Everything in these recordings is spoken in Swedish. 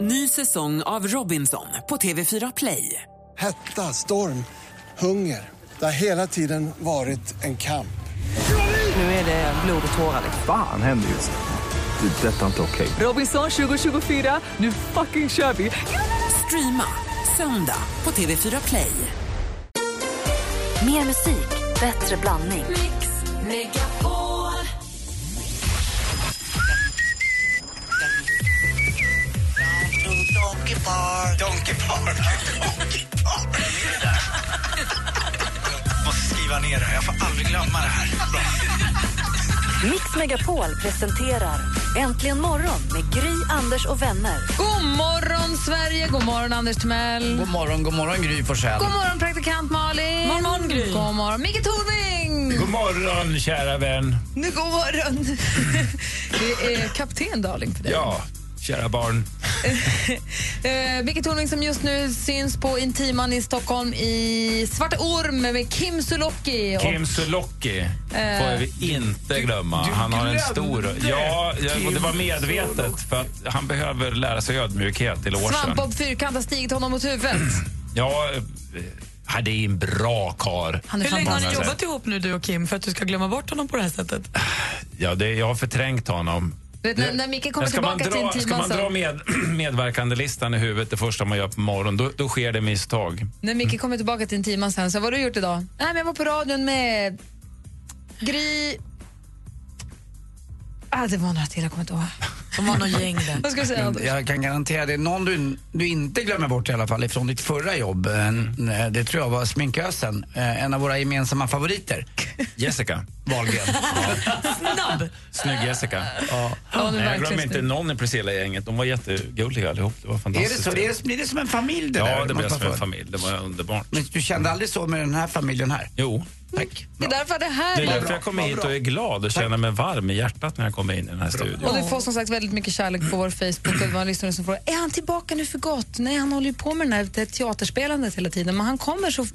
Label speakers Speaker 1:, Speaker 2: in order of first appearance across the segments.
Speaker 1: Ny säsong av Robinson på TV4 Play.
Speaker 2: Hetta, storm, hunger. Det har hela tiden varit en kamp.
Speaker 1: Nu är det blod och tårar.
Speaker 3: Fan händer just nu. Det. är Detta är inte okej.
Speaker 1: Robinson 2024, nu fucking kör vi! Streama söndag på TV4 Play.
Speaker 4: Mer musik, bättre blandning.
Speaker 5: Donkey Park. Donkey Park. Donkey Park. Det är det där. Måste skriva ner det här. Jag får aldrig glömma det här. Bra.
Speaker 4: Mix Megapol presenterar Äntligen morgon med Gry, Anders och vänner.
Speaker 6: God morgon, Sverige! God morgon, Anders Timell! God
Speaker 7: morgon, god morgon Gry Forssell.
Speaker 6: morgon, praktikant Malin! God morgon, Gry! God morgon, Micke Tornving!
Speaker 8: God morgon, kära vän.
Speaker 6: Nu God morgon! Det är kapten Darling för dig.
Speaker 8: Ja, kära barn.
Speaker 6: Eh, Micke Tornving som just nu syns på Intiman i Stockholm i Svarta Orm med Kim Sulocki. Och- Eh.
Speaker 8: Kim Sulocki får vi inte glömma. Han har en stor...
Speaker 7: glömde
Speaker 8: Ja, jag, och det var
Speaker 7: Kim
Speaker 8: medvetet. För att han behöver lära sig ödmjukhet till åren.
Speaker 6: Svampbob Fyrkant har stigit honom mot huvudet.
Speaker 8: Ja, eh, det är en bra kar.
Speaker 6: Han är
Speaker 9: Hur länge har ni
Speaker 8: Många
Speaker 9: jobbat ihop nu du och Kim för att du ska glömma bort honom på det här sättet?
Speaker 8: Ja, det, jag har förträngt honom.
Speaker 6: Du vet, när, när Micke kommer
Speaker 8: Men ska man
Speaker 6: tillbaka till
Speaker 8: dra, ska
Speaker 6: Intiman
Speaker 8: man dra
Speaker 6: så...
Speaker 8: med, medverkandelistan i huvudet det första man gör på morgonen, då, då sker det misstag.
Speaker 6: När Micke kommer tillbaka till Intiman sen, så vad har du gjort idag? Nej, men jag var på radion med Gry... Ah, det var några till, jag kommer inte ihåg.
Speaker 9: De var någon gäng där.
Speaker 6: Vad ska jag säga?
Speaker 7: Men
Speaker 6: Anders?
Speaker 7: jag kan garantera det. Någon du, du inte glömmer bort i alla fall ifrån ditt förra jobb, eh, n- det tror jag var sminkösen. Eh, En av våra gemensamma favoriter,
Speaker 8: Jessica.
Speaker 7: Wahlgren.
Speaker 9: Snabb!
Speaker 8: Snygg Jessica.
Speaker 6: Ja, nu
Speaker 8: Nej, jag
Speaker 6: verkligen
Speaker 8: glömmer inte
Speaker 6: snygg.
Speaker 8: någon i Priscilla-gänget. De var jättegulliga allihop. Det var
Speaker 7: Är
Speaker 8: fantastiskt.
Speaker 7: det så? Det är, blir det som en familj det där?
Speaker 8: Ja, det blev
Speaker 7: man tar
Speaker 8: som en
Speaker 7: för?
Speaker 8: familj. Det var underbart.
Speaker 7: Men du kände aldrig så med den här familjen här?
Speaker 8: Jo.
Speaker 7: Tack.
Speaker 6: Mm, Det är därför det
Speaker 8: Det är
Speaker 6: här är...
Speaker 8: därför jag kommer
Speaker 7: vad
Speaker 8: hit
Speaker 7: bra.
Speaker 8: och är glad och känner mig varm i hjärtat när jag kommer in i den här studion.
Speaker 6: Och du får som sagt väldigt mycket kärlek på vår Facebook. Och man lyssnare som frågar, är han tillbaka nu för gott? Nej, han håller ju på med den här, det här teaterspelandet hela tiden. Men han kommer så,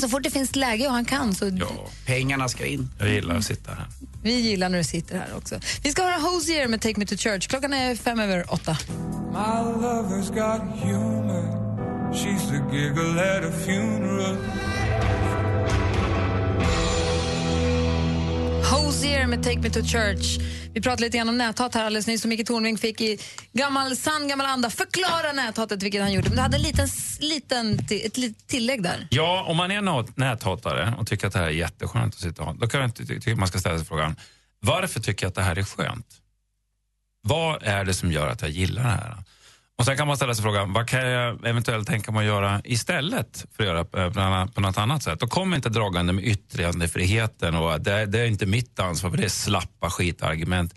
Speaker 6: så fort det finns läge och han kan. Så
Speaker 8: Ja,
Speaker 7: Pengarna ska in.
Speaker 8: jag gillar att sitta här.
Speaker 6: Vi gillar när du sitter här också. Vi ska höra Hosier med Take Me To Church. Klockan är fem över åtta. Hosier med Take Me To Church. Vi pratade lite grann om näthat här alldeles nyss och Micke Tornving fick i gammal sann gammal anda förklara näthatet, vilket han gjorde. Men du hade en liten, liten, ti- ett litet tillägg där.
Speaker 8: Ja, om man är nät- näthatare och tycker att det här är jätteskönt att sitta och ha, då kan jag inte, ty- tycker man ska ställa sig frågan, varför tycker jag att det här är skönt? Vad är det som gör att jag gillar det här? Och sen kan man ställa sig frågan, vad kan jag eventuellt tänka mig att göra istället för att göra eh, bland annat- på något annat sätt? Och kom inte dragande med yttrandefriheten och att det, det är inte mitt ansvar, för det är slappa skitargument.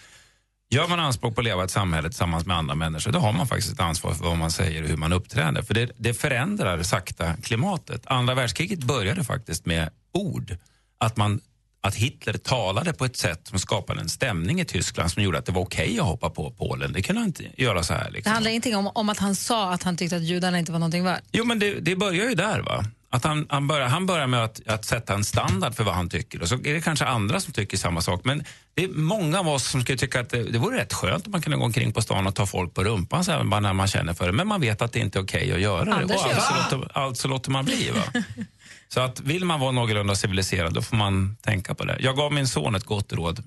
Speaker 8: Gör man anspråk på att leva i ett samhälle tillsammans med andra människor, då har man faktiskt ett ansvar för vad man säger och hur man uppträder. För det, det förändrar sakta klimatet. Andra världskriget började faktiskt med ord. Att, man, att Hitler talade på ett sätt som skapade en stämning i Tyskland som gjorde att det var okej att hoppa på Polen. Det kunde han inte göra så här.
Speaker 6: Det
Speaker 8: Liksom.
Speaker 6: handlar ingenting om, om att han sa att han tyckte att judarna inte var någonting värt.
Speaker 8: Jo, men det, det börjar ju där. va? Att han, han, börjar, han börjar med att, att sätta en standard för vad han tycker. Och så är det kanske andra som tycker samma sak. Men det är många av oss som skulle tycka att det, det vore rätt skönt om man kunde gå omkring på stan och ta folk på rumpan så här, bara när man känner för det. Men man vet att det inte är okej att göra det.
Speaker 6: Anders
Speaker 8: Och
Speaker 6: gör
Speaker 8: alltså,
Speaker 6: det.
Speaker 8: låter, alltså låter man bli. Va? Så att vill man vara någorlunda civiliserad då får man tänka på det. Jag gav min son ett gott råd,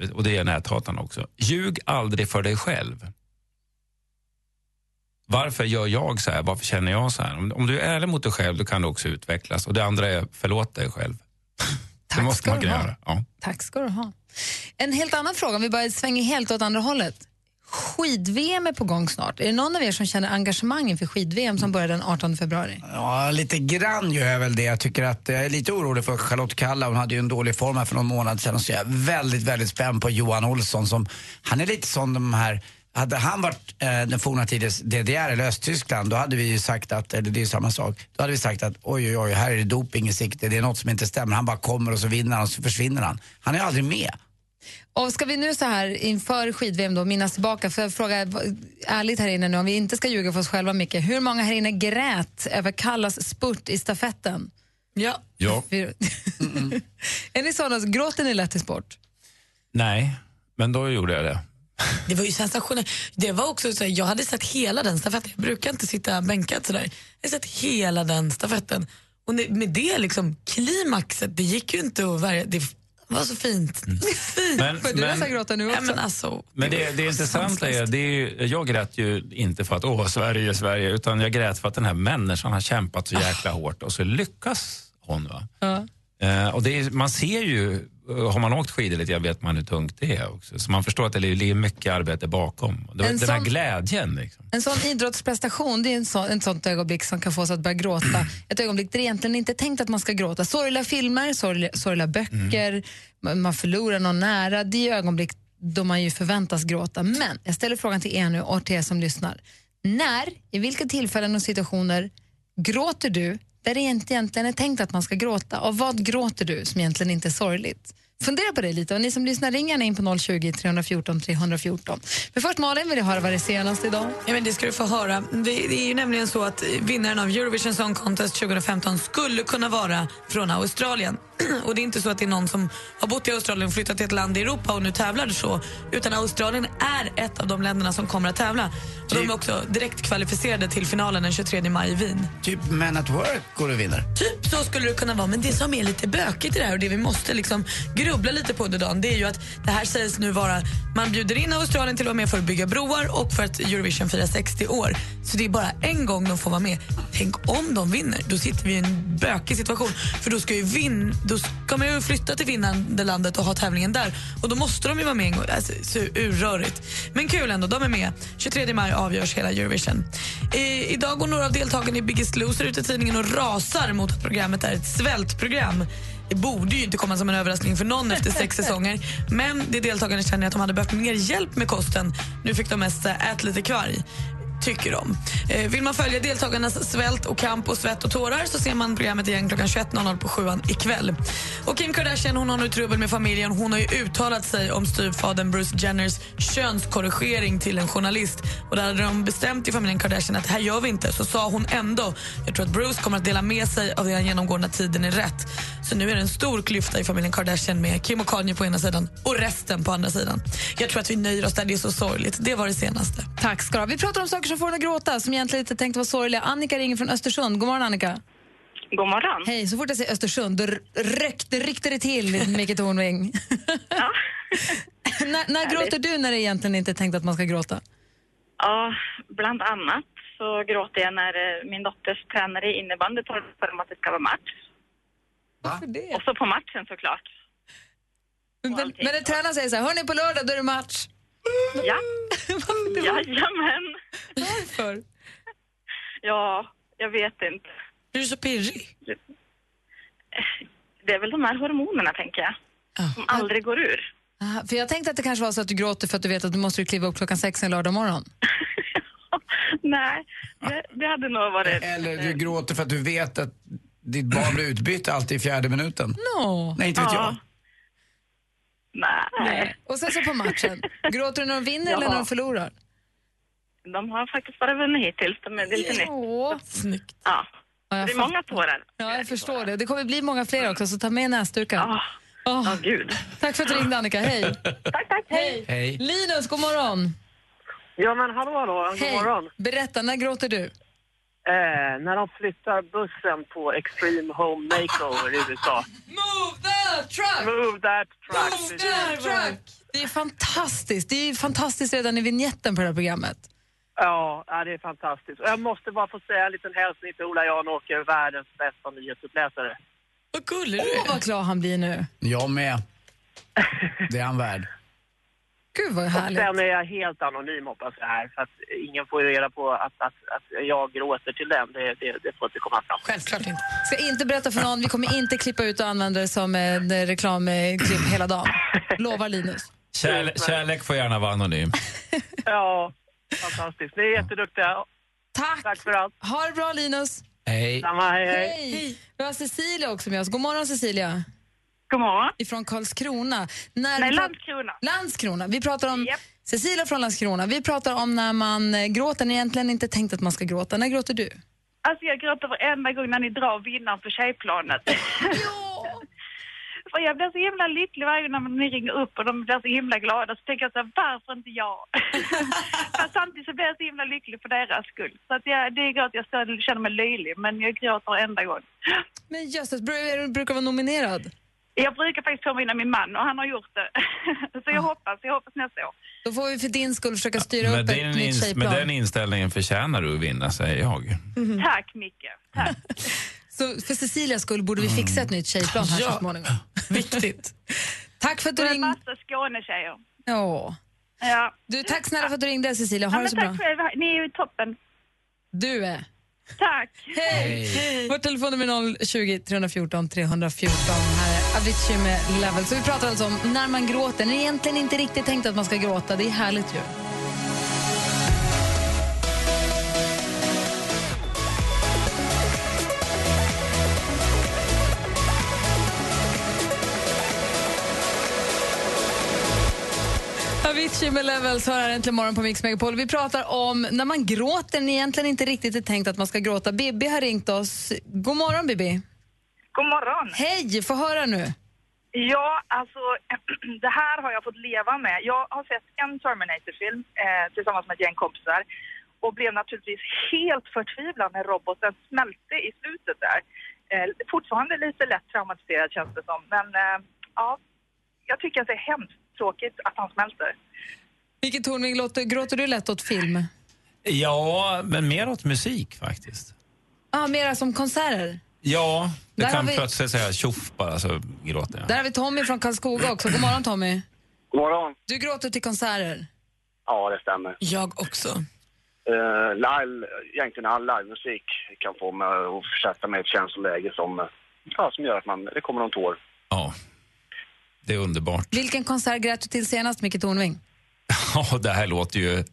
Speaker 8: eh, och det är näthatarna också. Ljug aldrig för dig själv. Varför gör jag så här? Varför känner jag så här? Om, om du är ärlig mot dig själv då kan du också utvecklas. Och det andra är förlåt dig själv.
Speaker 6: Tack
Speaker 8: Det måste
Speaker 6: ska
Speaker 8: man
Speaker 6: du
Speaker 8: kunna
Speaker 6: ha.
Speaker 8: göra. Ja.
Speaker 6: Tack ska du ha. En helt annan fråga, om vi bara svänger helt åt andra hållet. Skid-VM är på gång snart. Är det någon av er som känner engagemang inför skid-VM som börjar den 18 februari?
Speaker 7: Ja, lite grann gör jag väl det. Jag tycker att jag är lite orolig för Charlotte Kalla. Hon hade ju en dålig form här för någon månad sedan. Så jag är väldigt, väldigt spänd på Johan Olsson som, han är lite som de här hade han varit eh, den forna tidens DDR eller Östtyskland, då hade vi ju sagt att, eller det är ju samma sak, då hade vi sagt att oj, oj, oj, här är det doping i sikte, det är något som inte stämmer. Han bara kommer och så vinner han och så försvinner han. Han är aldrig med.
Speaker 6: Och ska vi nu så här inför skid-VM då minnas tillbaka, för jag frågar ärligt här inne nu om vi inte ska ljuga för oss själva Micke, hur många här inne grät över Kallas spurt i stafetten?
Speaker 9: Ja.
Speaker 8: Ja.
Speaker 6: Fyra- är ni sådana, gråter ni lätt i sport?
Speaker 8: Nej, men då gjorde jag det.
Speaker 9: Det var ju sensationellt. Det var också så här, jag hade sett hela den stafetten. Jag brukar inte sitta bänkad sådär. Jag hade sett hela den stafetten. Och det- med det liksom, klimaxet, det gick ju inte att värja. Det var så fint. fint.
Speaker 8: Men,
Speaker 6: För du
Speaker 8: men,
Speaker 6: nästan gråta nu
Speaker 9: Ja,
Speaker 6: också.
Speaker 9: men alltså,
Speaker 8: men
Speaker 9: var
Speaker 8: det, det
Speaker 9: så
Speaker 8: intressanta är,
Speaker 9: sanslöst.
Speaker 8: det är ju, jag grät ju inte för att åh, Sverige, Sverige, utan jag grät för att den här människan har kämpat så
Speaker 6: Ah.
Speaker 8: jäkla hårt och så lyckas hon. Va? Eh, och det är, man ser ju, eh, har man åkt skidor lite, jag vet man hur tungt det är också. Så man förstår att det ligger mycket arbete bakom. Det, var-
Speaker 6: En
Speaker 8: den här
Speaker 6: sån-
Speaker 8: glädjen liksom.
Speaker 6: En sån idrottsprestation, det är en så, ett sånt ögonblick som kan få oss att börja gråta. Ett ögonblick där det egentligen inte är tänkt att man ska gråta. Sorgliga filmer, sorgliga, sorgliga böcker, man- man förlorar någon nära. Det är ögonblick då man ju förväntas gråta. Men jag ställer frågan till er nu och till er som lyssnar. När, i vilka tillfällen och situationer gråter du där det inte egentligen är tänkt att man ska gråta? Och vad gråter du som egentligen inte är sorgligt? Fundera på det lite och ni som lyssnar ring gärna in på 020 314 314. Men först Malin vill jag höra vad det senaste idag.
Speaker 9: Ja, men det ska du få höra. Det, det är ju nämligen så att vinnaren av Eurovision Song Contest 2015 skulle kunna vara från Australien. och det är inte så att det är någon som har bott i Australien och flyttat till ett land i Europa och nu tävlar så. Utan Australien är ett av de länderna som kommer att tävla. Och de är också direkt kvalificerade till finalen den 23 maj i Wien.
Speaker 7: Typ Man at Work går och vinner.
Speaker 9: Typ så skulle det kunna vara, men det som är lite bökigt i det här och det vi måste liksom grubbla lite på under dagen, det är ju att det här sägs nu vara, man bjuder in Australien till att vara med för att bygga broar och för att Eurovision firar 60 år. Så det är bara en gång de får vara med. Tänk om de vinner, då sitter vi i en bökig situation. För då ska, ju vin, då ska man ju flytta till vinnande landet och ha tävlingen där. Och då måste de ju vara med en gång. Alltså, så urrörigt. Men kul ändå, de är med. 23 maj avgörs hela Eurovision. I, idag går några av deltagarna i Biggest Loser ut i tidningen och rasar mot att programmet är ett svältprogram. Det borde ju inte komma som en överraskning för någon efter sex säsonger. Men det deltagarna känner att de hade behövt mer hjälp med kosten. Nu fick de mest eh, ät lite kvarg tycker de. Eh, vill man följa deltagarnas svält och kamp och svett och tårar så ser man programmet igen klockan 21.00 på sjuan ikväll. Och Kim Kardashian hon har nu trubbel med familjen. Hon har ju uttalat sig om styvfadern Bruce Jenners könskorrigering till en journalist. Och där hade de bestämt i familjen Kardashian att det här gör vi inte. Så sa hon ändå. Jag tror att Bruce kommer att dela med sig av det han genomgår när tiden är rätt. Så nu är det en stor klyfta i familjen Kardashian med Kim och Kanye på ena sidan och resten på andra sidan. Jag tror att vi nöjer oss där. Det är så sorgligt. Det var det senaste.
Speaker 6: Tack ska du ha. Vi pratar om saker som får en att gråta som egentligen inte är tänkt att vara sorgliga. Annika ringer från Östersund. God morgon Annika.
Speaker 10: God morgon.
Speaker 6: Hej, så fort jag säger Östersund då r- ryckte, ryckte det till, Micke Tornving.
Speaker 10: Ja.
Speaker 6: när när gråter du när det egentligen inte är tänkt att man ska gråta?
Speaker 10: ja, bland annat så gråter jag när eh, min dotters tränare i innebandy talar om att det ska vara match.
Speaker 6: Varför det?
Speaker 10: Och så på matchen såklart.
Speaker 6: Men, men
Speaker 10: allting.
Speaker 6: när tränaren säger så här, hörni på lördag då är det match.
Speaker 10: Ja,
Speaker 6: Varför det?
Speaker 10: jajamän.
Speaker 6: Varför?
Speaker 10: Ja, jag vet inte.
Speaker 9: Du är så pirrig.
Speaker 10: Det är väl de här hormonerna, tänker jag, som aldrig går ur.
Speaker 6: Ah, För jag tänkte att det kanske var så att du gråter för att du vet att du måste kliva upp klockan sex en lördag morgon.
Speaker 10: Nej, det, det hade nog varit...
Speaker 7: Eh,
Speaker 10: eh,
Speaker 7: Eller du gråter för att du vet att ditt barn blir utbytt alltid i fjärde minuten.
Speaker 6: No.
Speaker 7: Nej, inte vet jag.
Speaker 10: Ja. Nej,
Speaker 6: Och sen så på matchen, gråter du när de vinner eller
Speaker 10: Jaha.
Speaker 6: när de förlorar?
Speaker 10: de har faktiskt bara vunnit hittills. De är det är lite nytt.
Speaker 6: Åh.
Speaker 9: Snyggt.
Speaker 10: Ja.
Speaker 6: Ja, jag
Speaker 10: Det är många tårar.
Speaker 6: Ja, jag förstår det. Det kommer bli många fler också, så ta med näsdukarna.
Speaker 10: Ja,
Speaker 6: Åh,
Speaker 10: ja, gud.
Speaker 6: tack för att du ringde, Annika. Hej!
Speaker 10: Tack, tack. Hej.
Speaker 7: Hej.
Speaker 6: Linus, god morgon!
Speaker 11: Ja, men hallå, hallå. God
Speaker 6: Hej.
Speaker 11: morgon.
Speaker 6: Berätta, när gråter du?
Speaker 11: Eh, när de flyttar bussen på Extreme Home Makeover i USA.
Speaker 6: Move the truck!
Speaker 11: Move that truck.
Speaker 6: Det är fantastiskt. Det är ju fantastiskt redan i vignetten på det här programmet.
Speaker 11: Ja, ja, det är fantastiskt. Och jag måste bara få säga en liten hälsning till Ola Janåker, världens bästa nyhetsuppläsare.
Speaker 9: Vad gullig du
Speaker 6: Åh,
Speaker 9: är.
Speaker 6: vad klar han blir nu.
Speaker 7: Jag med. Det är han värd.
Speaker 6: Gud, vad
Speaker 11: Och
Speaker 6: härligt.
Speaker 11: sen är jag helt anonym hoppas jag här, så att ingen får reda på att, att, att jag gråter till den. Det, det, det får inte komma fram.
Speaker 9: Självklart inte.
Speaker 6: Ska inte berätta för någon. Vi kommer inte klippa ut och använda det som en reklamklipp hela dagen. Lovar Linus.
Speaker 8: Kärle- kärlek får gärna vara anonym.
Speaker 11: Ja, fantastiskt. Ni är jätteduktiga. Tack
Speaker 6: Tack!
Speaker 11: för allt.
Speaker 6: Ha det bra, Linus.
Speaker 7: Hej.
Speaker 11: Samma, hej, hej.
Speaker 6: Hej! Vi har Cecilia också med oss. God morgon, Cecilia.
Speaker 10: God morgon.
Speaker 6: ifrån Karlskrona. När
Speaker 10: Nej,
Speaker 6: vi pra-
Speaker 10: Landskrona.
Speaker 6: Landskrona. Vi pratar om
Speaker 10: Japp.
Speaker 6: Cecilia från Landskrona. Vi pratar om när man eh, gråter när det egentligen inte är tänkt att man ska gråta. När gråter du?
Speaker 10: Alltså jag gråter varenda gång när ni drar vinnaren på tjejplanet.
Speaker 6: Ja.
Speaker 10: För jag blir så himla lycklig varje gång när ni ringer upp och de blir så himla glada. Så tänker jag så här, varför inte jag? Fast samtidigt så blir jag så himla lycklig för deras skull. Så att jag, det är gråt, jag står, känner mig löjlig, men jag gråter varenda gång.
Speaker 6: Men jösses, bru- du brukar vara nominerad.
Speaker 10: Jag brukar faktiskt påminna min man och han har gjort det. så
Speaker 6: Ah.
Speaker 10: jag hoppas, jag hoppas nästa år.
Speaker 6: Då får vi för din skull försöka styra
Speaker 8: Med
Speaker 6: upp ett
Speaker 8: den,
Speaker 6: nytt
Speaker 8: ins- med den
Speaker 6: tjejplan.
Speaker 8: inställningen förtjänar du att vinna, säger jag.
Speaker 6: Mm.
Speaker 10: Tack Micke.
Speaker 6: Så för Cecilias skull borde vi fixa ett nytt tjejplan här så småningom. Viktigt. Tack för att du
Speaker 10: Och en
Speaker 6: ringde.
Speaker 10: massa Skånetjejer.
Speaker 6: Ja.
Speaker 10: Ja.
Speaker 6: Du, tack snälla för att du ringde Cecilia.
Speaker 10: Ja,
Speaker 6: Ha
Speaker 10: men
Speaker 6: det så
Speaker 10: tack
Speaker 6: bra.
Speaker 10: själv, ni är ju toppen.
Speaker 6: Du är.
Speaker 10: Tack.
Speaker 6: Hej! Vårt telefonnummer är 020 314 314. Här är Avicii med Level. Så vi pratar alltså om när man gråter. När det egentligen inte riktigt tänkt att man ska gråta. Det är härligt ju. Avicii med Levels hör här äntligen morgon på Mix Megapol. Vi pratar om när man gråter, när egentligen inte riktigt är tänkt att man ska gråta. Bibi har ringt oss. God morgon Bibi.
Speaker 12: God morgon.
Speaker 6: Hej, få höra nu.
Speaker 12: Ja, alltså det här har jag fått leva med. Jag har sett en Terminator-film eh, tillsammans med ett gäng kompisar och blev naturligtvis helt förtvivlad när roboten smälte i slutet där. Eh, fortfarande lite lätt traumatiserad känns det som, men eh, ja, jag tycker att det är hemskt tråkigt att han smälter.
Speaker 6: Vilket Tornving, låter- gråter du lätt åt film?
Speaker 8: Ja, men mer åt musik faktiskt.
Speaker 6: Ja, mera som konserter.
Speaker 8: Ja, det
Speaker 6: Där har
Speaker 8: kan
Speaker 6: vi-
Speaker 8: plötsligt säga tjoff bara så gråter jag.
Speaker 6: Där har vi Tommy från Karlskoga också. God morgon Tommy.
Speaker 13: God morgon.
Speaker 6: Du gråter till konserter.
Speaker 13: Ja, det stämmer.
Speaker 6: Jag också.
Speaker 13: Uh, live, egentligen all livemusik kan få mig att försätta mig i eh, ett känsloläge som, eh, ja, som gör att man, det kommer någon tår.
Speaker 8: Ja, det är underbart.
Speaker 6: Vilken konsert grät du till senast, Micke Tornving?
Speaker 8: Ja, det här låter ju...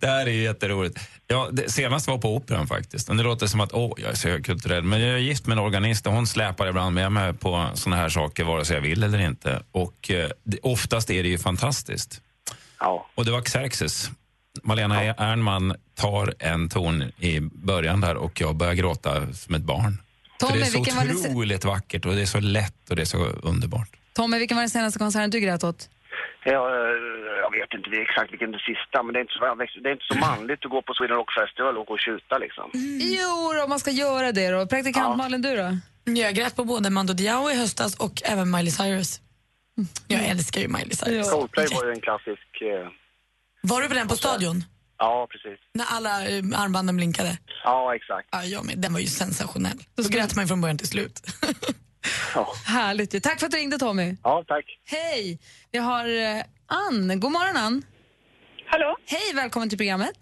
Speaker 8: det här är ju jätteroligt. Ja, det senast var på Operan faktiskt. Men det låter som att åh, jag är så högkulturell. Men jag är gift med en organist och hon släpar ibland med mig på såna här saker vare sig jag vill eller inte. Och eh, det, oftast är det ju fantastiskt. Och det var Xerxes. Malena Ernman tar en ton i början där och jag börjar gråta som ett barn. För
Speaker 6: Tommy,
Speaker 8: det är så
Speaker 6: vilken var det se-
Speaker 8: otroligt vackert och det är så lätt och det är så underbart.
Speaker 6: Tommy, vilken var den senaste konserten du grät åt?
Speaker 13: Jag, eh, jag vet inte exakt vilken det sista, men det är, inte så, det är inte så manligt att gå på Sweden Rock Festival och gå och tjuta liksom.
Speaker 6: Jo, då, om man ska göra det då. Praktikant Malin, du då?
Speaker 9: Jag grät på både Mando Diao i höstas och även Miley Cyrus. Jag älskar ju Miley Cyrus.
Speaker 13: Coldplay var ju en klassisk... eh,
Speaker 9: Var du på den på Stadion?
Speaker 13: ja, precis.
Speaker 9: När alla eh, armbanden blinkade?
Speaker 13: Ja, exakt.
Speaker 9: Ja, jag med. Den var ju sensationell. Då grät man ju från början till slut.
Speaker 6: Härligt ju. Tack för att du ringde Tommy.
Speaker 13: Ja, tack.
Speaker 6: Hej! Vi har eh, Ann. God morgon Ann.
Speaker 12: Hallå.
Speaker 6: Hej, välkommen till programmet.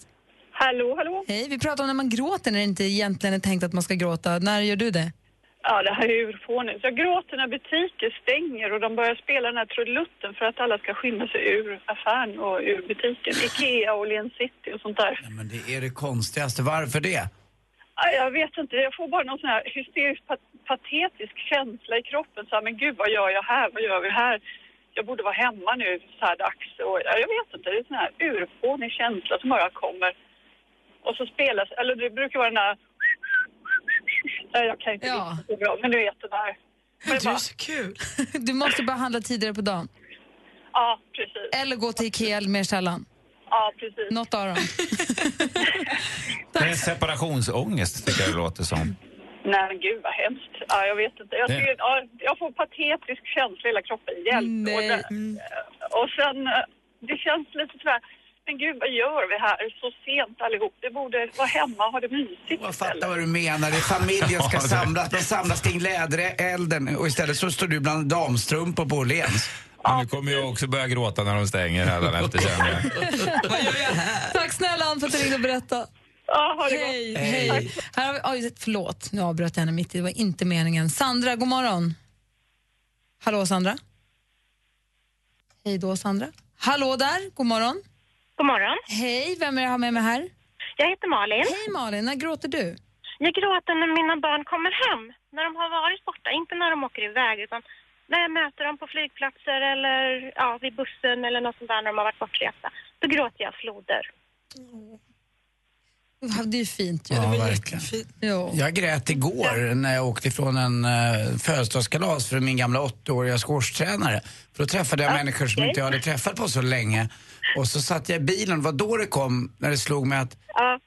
Speaker 12: Hallå, hallå.
Speaker 6: Hej, vi pratar om när man gråter när det inte egentligen är tänkt att man ska gråta. När gör du det?
Speaker 12: Ja, det här är ju urfånigt. Jag gråter när butiker stänger och de börjar spela den här trudelutten för att alla ska skynda sig ur affären och ur butiken. Ikea och Åhléns City och sånt där.
Speaker 7: Men det är det konstigaste. Varför det?
Speaker 12: Ja, Jag vet inte, jag får bara någon sån här hysteriskt pat- patetisk känsla i kroppen. Så här, men gud, vad gör jag här? Vad gör vi här? Jag borde vara hemma nu så här dags. Och, ja, jag vet inte, det är en sån här urfånig känsla som bara kommer. Och så spelas, eller det brukar vara den här... Ja, Jag kan inte ja. så bra, men du vet det där. Men
Speaker 6: Du är så
Speaker 9: kul.
Speaker 6: Du måste bara handla tidigare på dagen.
Speaker 12: Ja, precis.
Speaker 6: Eller gå till Ikea eller mer sällan.
Speaker 12: Ja, precis.
Speaker 6: Något av dem.
Speaker 8: Det är separationsångest tycker jag det låter som.
Speaker 12: Nej, men gud vad hemskt. Ja, jag vet inte. Jag,
Speaker 8: Det-
Speaker 12: tycker, ja, jag får patetisk känsla i hela kroppen. Hjälp. Och, det, och sen, eh, det känns lite sådär, men gud vad gör vi här så sent allihop? Vi borde vara hemma och ha det mysigt
Speaker 7: Fattar vad du menar. Det är familjen ska
Speaker 12: Ja, det-
Speaker 7: samlas. Man samlas kring läderelden och istället så står du bland damstrumpor på Åhléns.
Speaker 8: Men nu kommer jag också börja gråta när de stänger hädanefter känner jag.
Speaker 6: Tack snälla Ann för att du ringde och berättade. Hej, hej. Här har vi, oj, förlåt, nu avbröt jag henne mitt i. Det var inte meningen. Sandra, god morgon. Hallå Sandra? Hej då Sandra. Hallå där, god morgon.
Speaker 14: God morgon.
Speaker 6: Hej, vem är det jag har med mig här?
Speaker 14: Jag heter Malin.
Speaker 6: Hej Malin, när gråter du?
Speaker 14: Jag gråter när mina barn kommer hem, när de har varit borta. Inte när de åker iväg, utan när jag möter dem på flygplatser eller ja, vid bussen eller något sånt där när de har varit bortresta. Då gråter jag floder.
Speaker 6: Mm. Det är ju fint ju.
Speaker 7: Ja, verkligen.
Speaker 6: Jo.
Speaker 7: Jag grät igår när jag åkte ifrån en eh, födelsedagskalas för min gamla 80-åriga squashtränare. För då träffade jag människor som inte jag hade träffat på så länge. Och så satt jag i bilen, det var då det kom, när det slog mig att,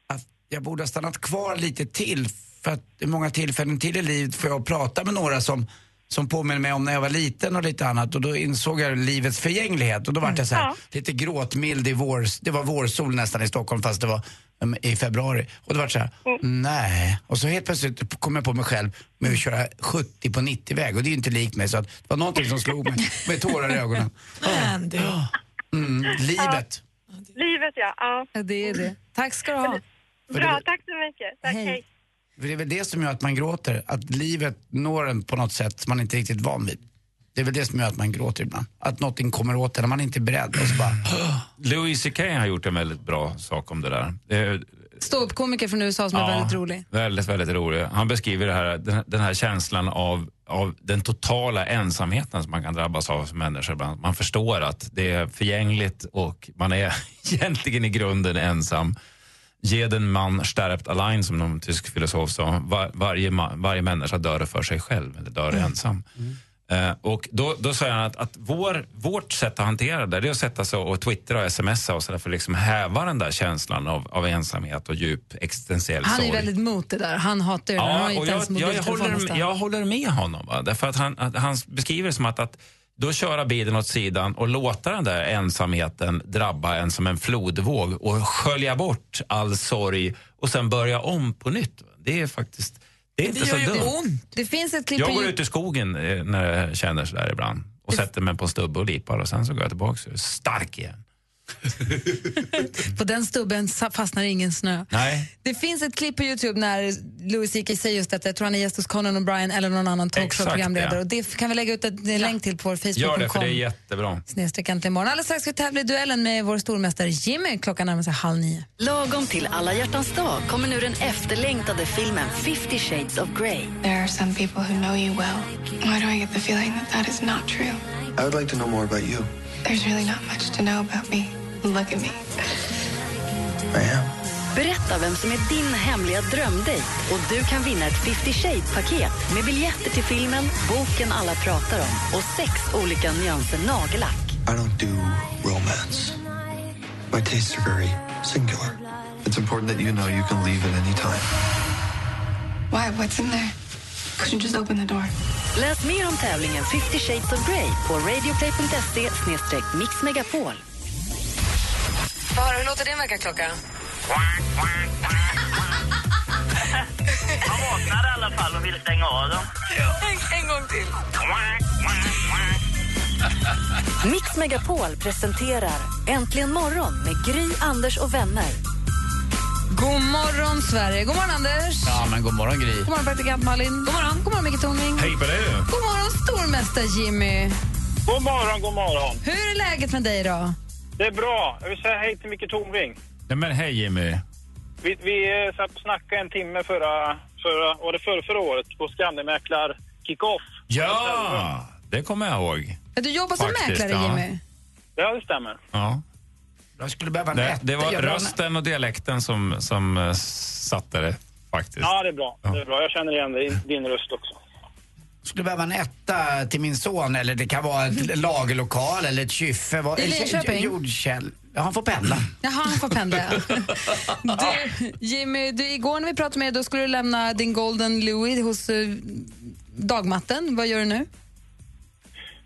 Speaker 7: att jag borde ha stannat kvar lite till. För att i många tillfällen till i livet får jag prata med några som som påminner mig om när jag var liten och lite annat och då insåg jag livets förgänglighet och då var jag så här,
Speaker 14: Mm.
Speaker 7: lite gråtmild i vår, det var vårsol nästan i Stockholm fast det var um, i februari och då var det så här,
Speaker 14: Mm.
Speaker 7: nej. Och så helt plötsligt kom jag på mig själv med att köra 70 på 90-väg och det är ju inte likt mig så att det var någonting som slog mig med tårar i ögonen.
Speaker 9: Men du.
Speaker 7: Mm, livet.
Speaker 14: Livet, ja. ja.
Speaker 6: Det är det. Tack ska du ha.
Speaker 14: Bra, tack så mycket. Tack, hej.
Speaker 7: För det är väl det som gör att man gråter, att livet når en på något sätt som man inte är riktigt van vid. Det är väl det som gör att man gråter ibland. Att någonting kommer åt en när man inte är beredd. Och så bara,
Speaker 8: Louis CK har gjort en väldigt bra sak om det där. Eh,
Speaker 6: Ståuppkomiker från USA som är
Speaker 8: Ja.
Speaker 6: väldigt rolig.
Speaker 8: Väldigt, väldigt rolig. Han beskriver det här, den, den här känslan av, av den totala ensamheten som man kan drabbas av som människa ibland. Man förstår att det är förgängligt och man är egentligen i grunden ensam. Ge den man stärpt allein, som någon tysk filosof sa. Var, varje, ma- varje människa dör för sig själv, eller dör
Speaker 6: Mm.
Speaker 8: ensam. Eh, och då, då säger han att, att vår, vårt sätt att hantera det, det är att sätta sig och twittra och smsa och sådär för att liksom häva den där känslan av, av ensamhet och djup existentiell
Speaker 6: Han är ju
Speaker 8: sorg.
Speaker 6: väldigt mot det där. Han hatar ju det. Han har
Speaker 8: Ja,
Speaker 6: ju
Speaker 8: och
Speaker 6: inte
Speaker 8: jag,
Speaker 6: ens
Speaker 8: jag,
Speaker 6: mobiltelefon
Speaker 8: håller,
Speaker 6: nästan.
Speaker 8: jag håller med honom. Va? Därför att han, att han beskriver det som att, att då köra bilen åt sidan och låta den där ensamheten drabba en som en flodvåg och skölja bort all sorg och sen börja om på nytt. va. Det är faktiskt det är inte så
Speaker 9: Mm.
Speaker 8: dumt.
Speaker 6: Det finns ett klipp
Speaker 8: Jag
Speaker 6: på
Speaker 8: går
Speaker 6: Youtube-
Speaker 8: ut i skogen eh, när jag känner så där ibland och sätter mig på en stubbe och lipar och sen så går jag tillbaka och är stark igen.
Speaker 6: På den stubben sa- fastnar ingen snö.
Speaker 8: Nej.
Speaker 6: Det finns ett klipp på Youtube när Louis CK säger just detta. Jag tror han är gäst hos Conan O'Brien eller någon annan talkshow-programledare.
Speaker 8: Exakt, ja.
Speaker 6: Och Det kan vi lägga ut en länk till på vår
Speaker 8: Gör det, för det är
Speaker 6: Facebook.com.
Speaker 8: jättebra.
Speaker 6: Snedstreck äntligen morgon. Alldeles strax ska vi tävla i duellen med vår stormästare Jimmy. Klockan närmar sig halv nio.
Speaker 4: Lagom till alla hjärtans dag kommer nu den efterlängtade filmen 50 shades of Grey.
Speaker 15: There are some people who know you well. Why do I get the feeling that that is not true?
Speaker 2: I would like to know more about you.
Speaker 15: There's really not much to know about me. Look at me.
Speaker 4: Berätta vem som är din hemliga drömdejt och du kan vinna ett 50 Shades-paket med biljetter till filmen, boken alla pratar om och sex olika nyanser nagellack.
Speaker 16: I don't do romance. My tastes are very singular. It's important that you know you can leave at any time.
Speaker 15: Why? What's in there? Could you just open the door?
Speaker 4: Läs mer om tävlingen 50 Shades of Grey på radioplay.se mixmegapol.
Speaker 6: Fara, hur låter din väckarklocka?
Speaker 5: Han vaknade i alla fall och ville stänga av dem.
Speaker 6: En, gång till.
Speaker 4: Mix Megapol presenterar Äntligen morgon med Gry, Anders och vänner.
Speaker 6: God morgon, Sverige. God morgon, Anders.
Speaker 7: Ja, men god morgon Gry.
Speaker 6: God morgon, praktikant Malin. God morgon, god morgon Micke Tornving.
Speaker 7: Hej på dig.
Speaker 6: God morgon, stormästare Jimmy.
Speaker 17: God morgon, god morgon.
Speaker 6: Hur är läget med dig idag?
Speaker 17: Det är bra. Jag vill säga hej till Micke Tornving.
Speaker 8: Nej, men hej Jimmy.
Speaker 17: Vi, vi eh, satt och snackade en timme förra, förra, var det förra, förra året på Scandimäklar kick-off.
Speaker 8: Ja, det kommer jag ihåg.
Speaker 6: Ja, Du jobbar som
Speaker 8: Faktiskt,
Speaker 6: mäklare,
Speaker 8: ja.
Speaker 6: Jimmy.
Speaker 17: Ja, det stämmer.
Speaker 8: Ja.
Speaker 7: Jag skulle behöva en
Speaker 8: Det,
Speaker 7: etta,
Speaker 8: det var
Speaker 7: jag behöver en-
Speaker 8: rösten och dialekten som, som eh, satte det faktiskt.
Speaker 17: Ja, det är bra. Det är bra. Jag känner igen din, din röst också.
Speaker 7: skulle behöva en etta till min son eller det kan vara ett lagerlokal eller ett kyffe. Vad-
Speaker 6: I
Speaker 7: eller-
Speaker 6: Linköping?
Speaker 7: Jordkäll. Ja, han får pendla.
Speaker 6: Jaha, han får pendla. ja. du, Jimmy, du, igår när vi pratade med dig då skulle du lämna din Golden Louis hos eh, dagmatten. Vad gör du nu?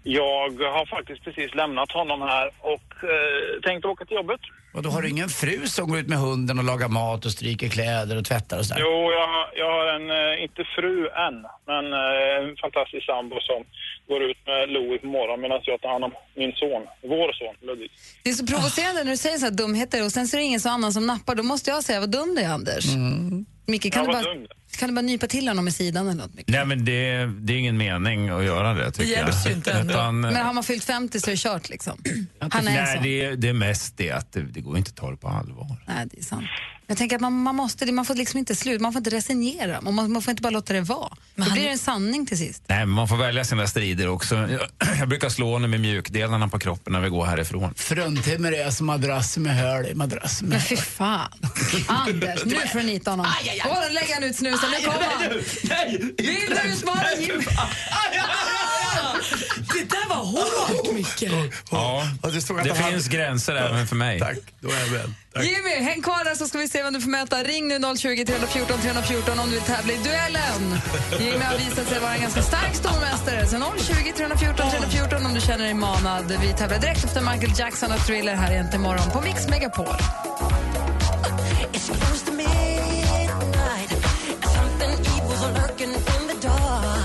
Speaker 17: Jag har faktiskt precis lämnat honom här och eh, tänkte åka till jobbet.
Speaker 7: Och då har du ingen fru som går ut med hunden och lagar mat och stryker kläder och tvättar och sådär.
Speaker 17: Jo, jag, har- jag har en, eh, inte fru än, men eh, en fantastisk sambo som går ut med Louis på morgonen medan jag tar hand om min son, vår son Ludvig.
Speaker 6: Det är så provocerande när du säger så här dumheter och sen så är det ingen så annan som nappar. Då måste jag säga vad dum det är, Anders. Micke, kan
Speaker 17: Mm. Ja,
Speaker 6: du
Speaker 17: vad
Speaker 6: bara...
Speaker 17: dum.
Speaker 6: Kan du bara nypa till honom i sidan eller något?
Speaker 8: Nej, men det, det är ingen mening att göra det, tycker jag. Utan, eh,
Speaker 6: Men har man fyllt 50 så är det kört liksom. Han är en
Speaker 8: nej,
Speaker 6: sån.
Speaker 8: det, är- det är mest det att det, det går inte att ta det på allvar.
Speaker 6: Nej, det är sant. Jag tänker att man, man måste, man får liksom inte slut, man får inte resignera, man, man får inte bara låta det vara. det blir en sanning till sist.
Speaker 8: Nej, men man får välja sina strider också. Jag, jag brukar slå honom med mjukdelarna på kroppen när vi går härifrån.
Speaker 7: Fruntimmer är som madrass med höl i madrass med
Speaker 6: Men fy fan. Anders, nu får du nita honom.
Speaker 7: Aj, aj, aj.
Speaker 6: Åh, nu lägger han ut snusen, nu
Speaker 7: Aj,
Speaker 6: kommer
Speaker 7: nej,
Speaker 6: han.
Speaker 7: du, nej,
Speaker 6: Bilda ut mannen, Jimmy.
Speaker 9: Det där var hårt, Micke.
Speaker 8: Ja, det finns gränser även för mig. Tack,
Speaker 7: då är jag med.
Speaker 6: Jimmy, häng kvar där så ska vi se vem du får möta. Ring nu 020 314 314 om du vill tävla i duellen. Jimmy har visat sig vara en ganska stark stormästare. Så 020 314 314 om du känner dig manad. Vi tävlar direkt efter Michael Jackson och Thriller här egentligen imorgon på Mix Megapol.
Speaker 5: It's close to midnight. Something evil's lurking in the dark.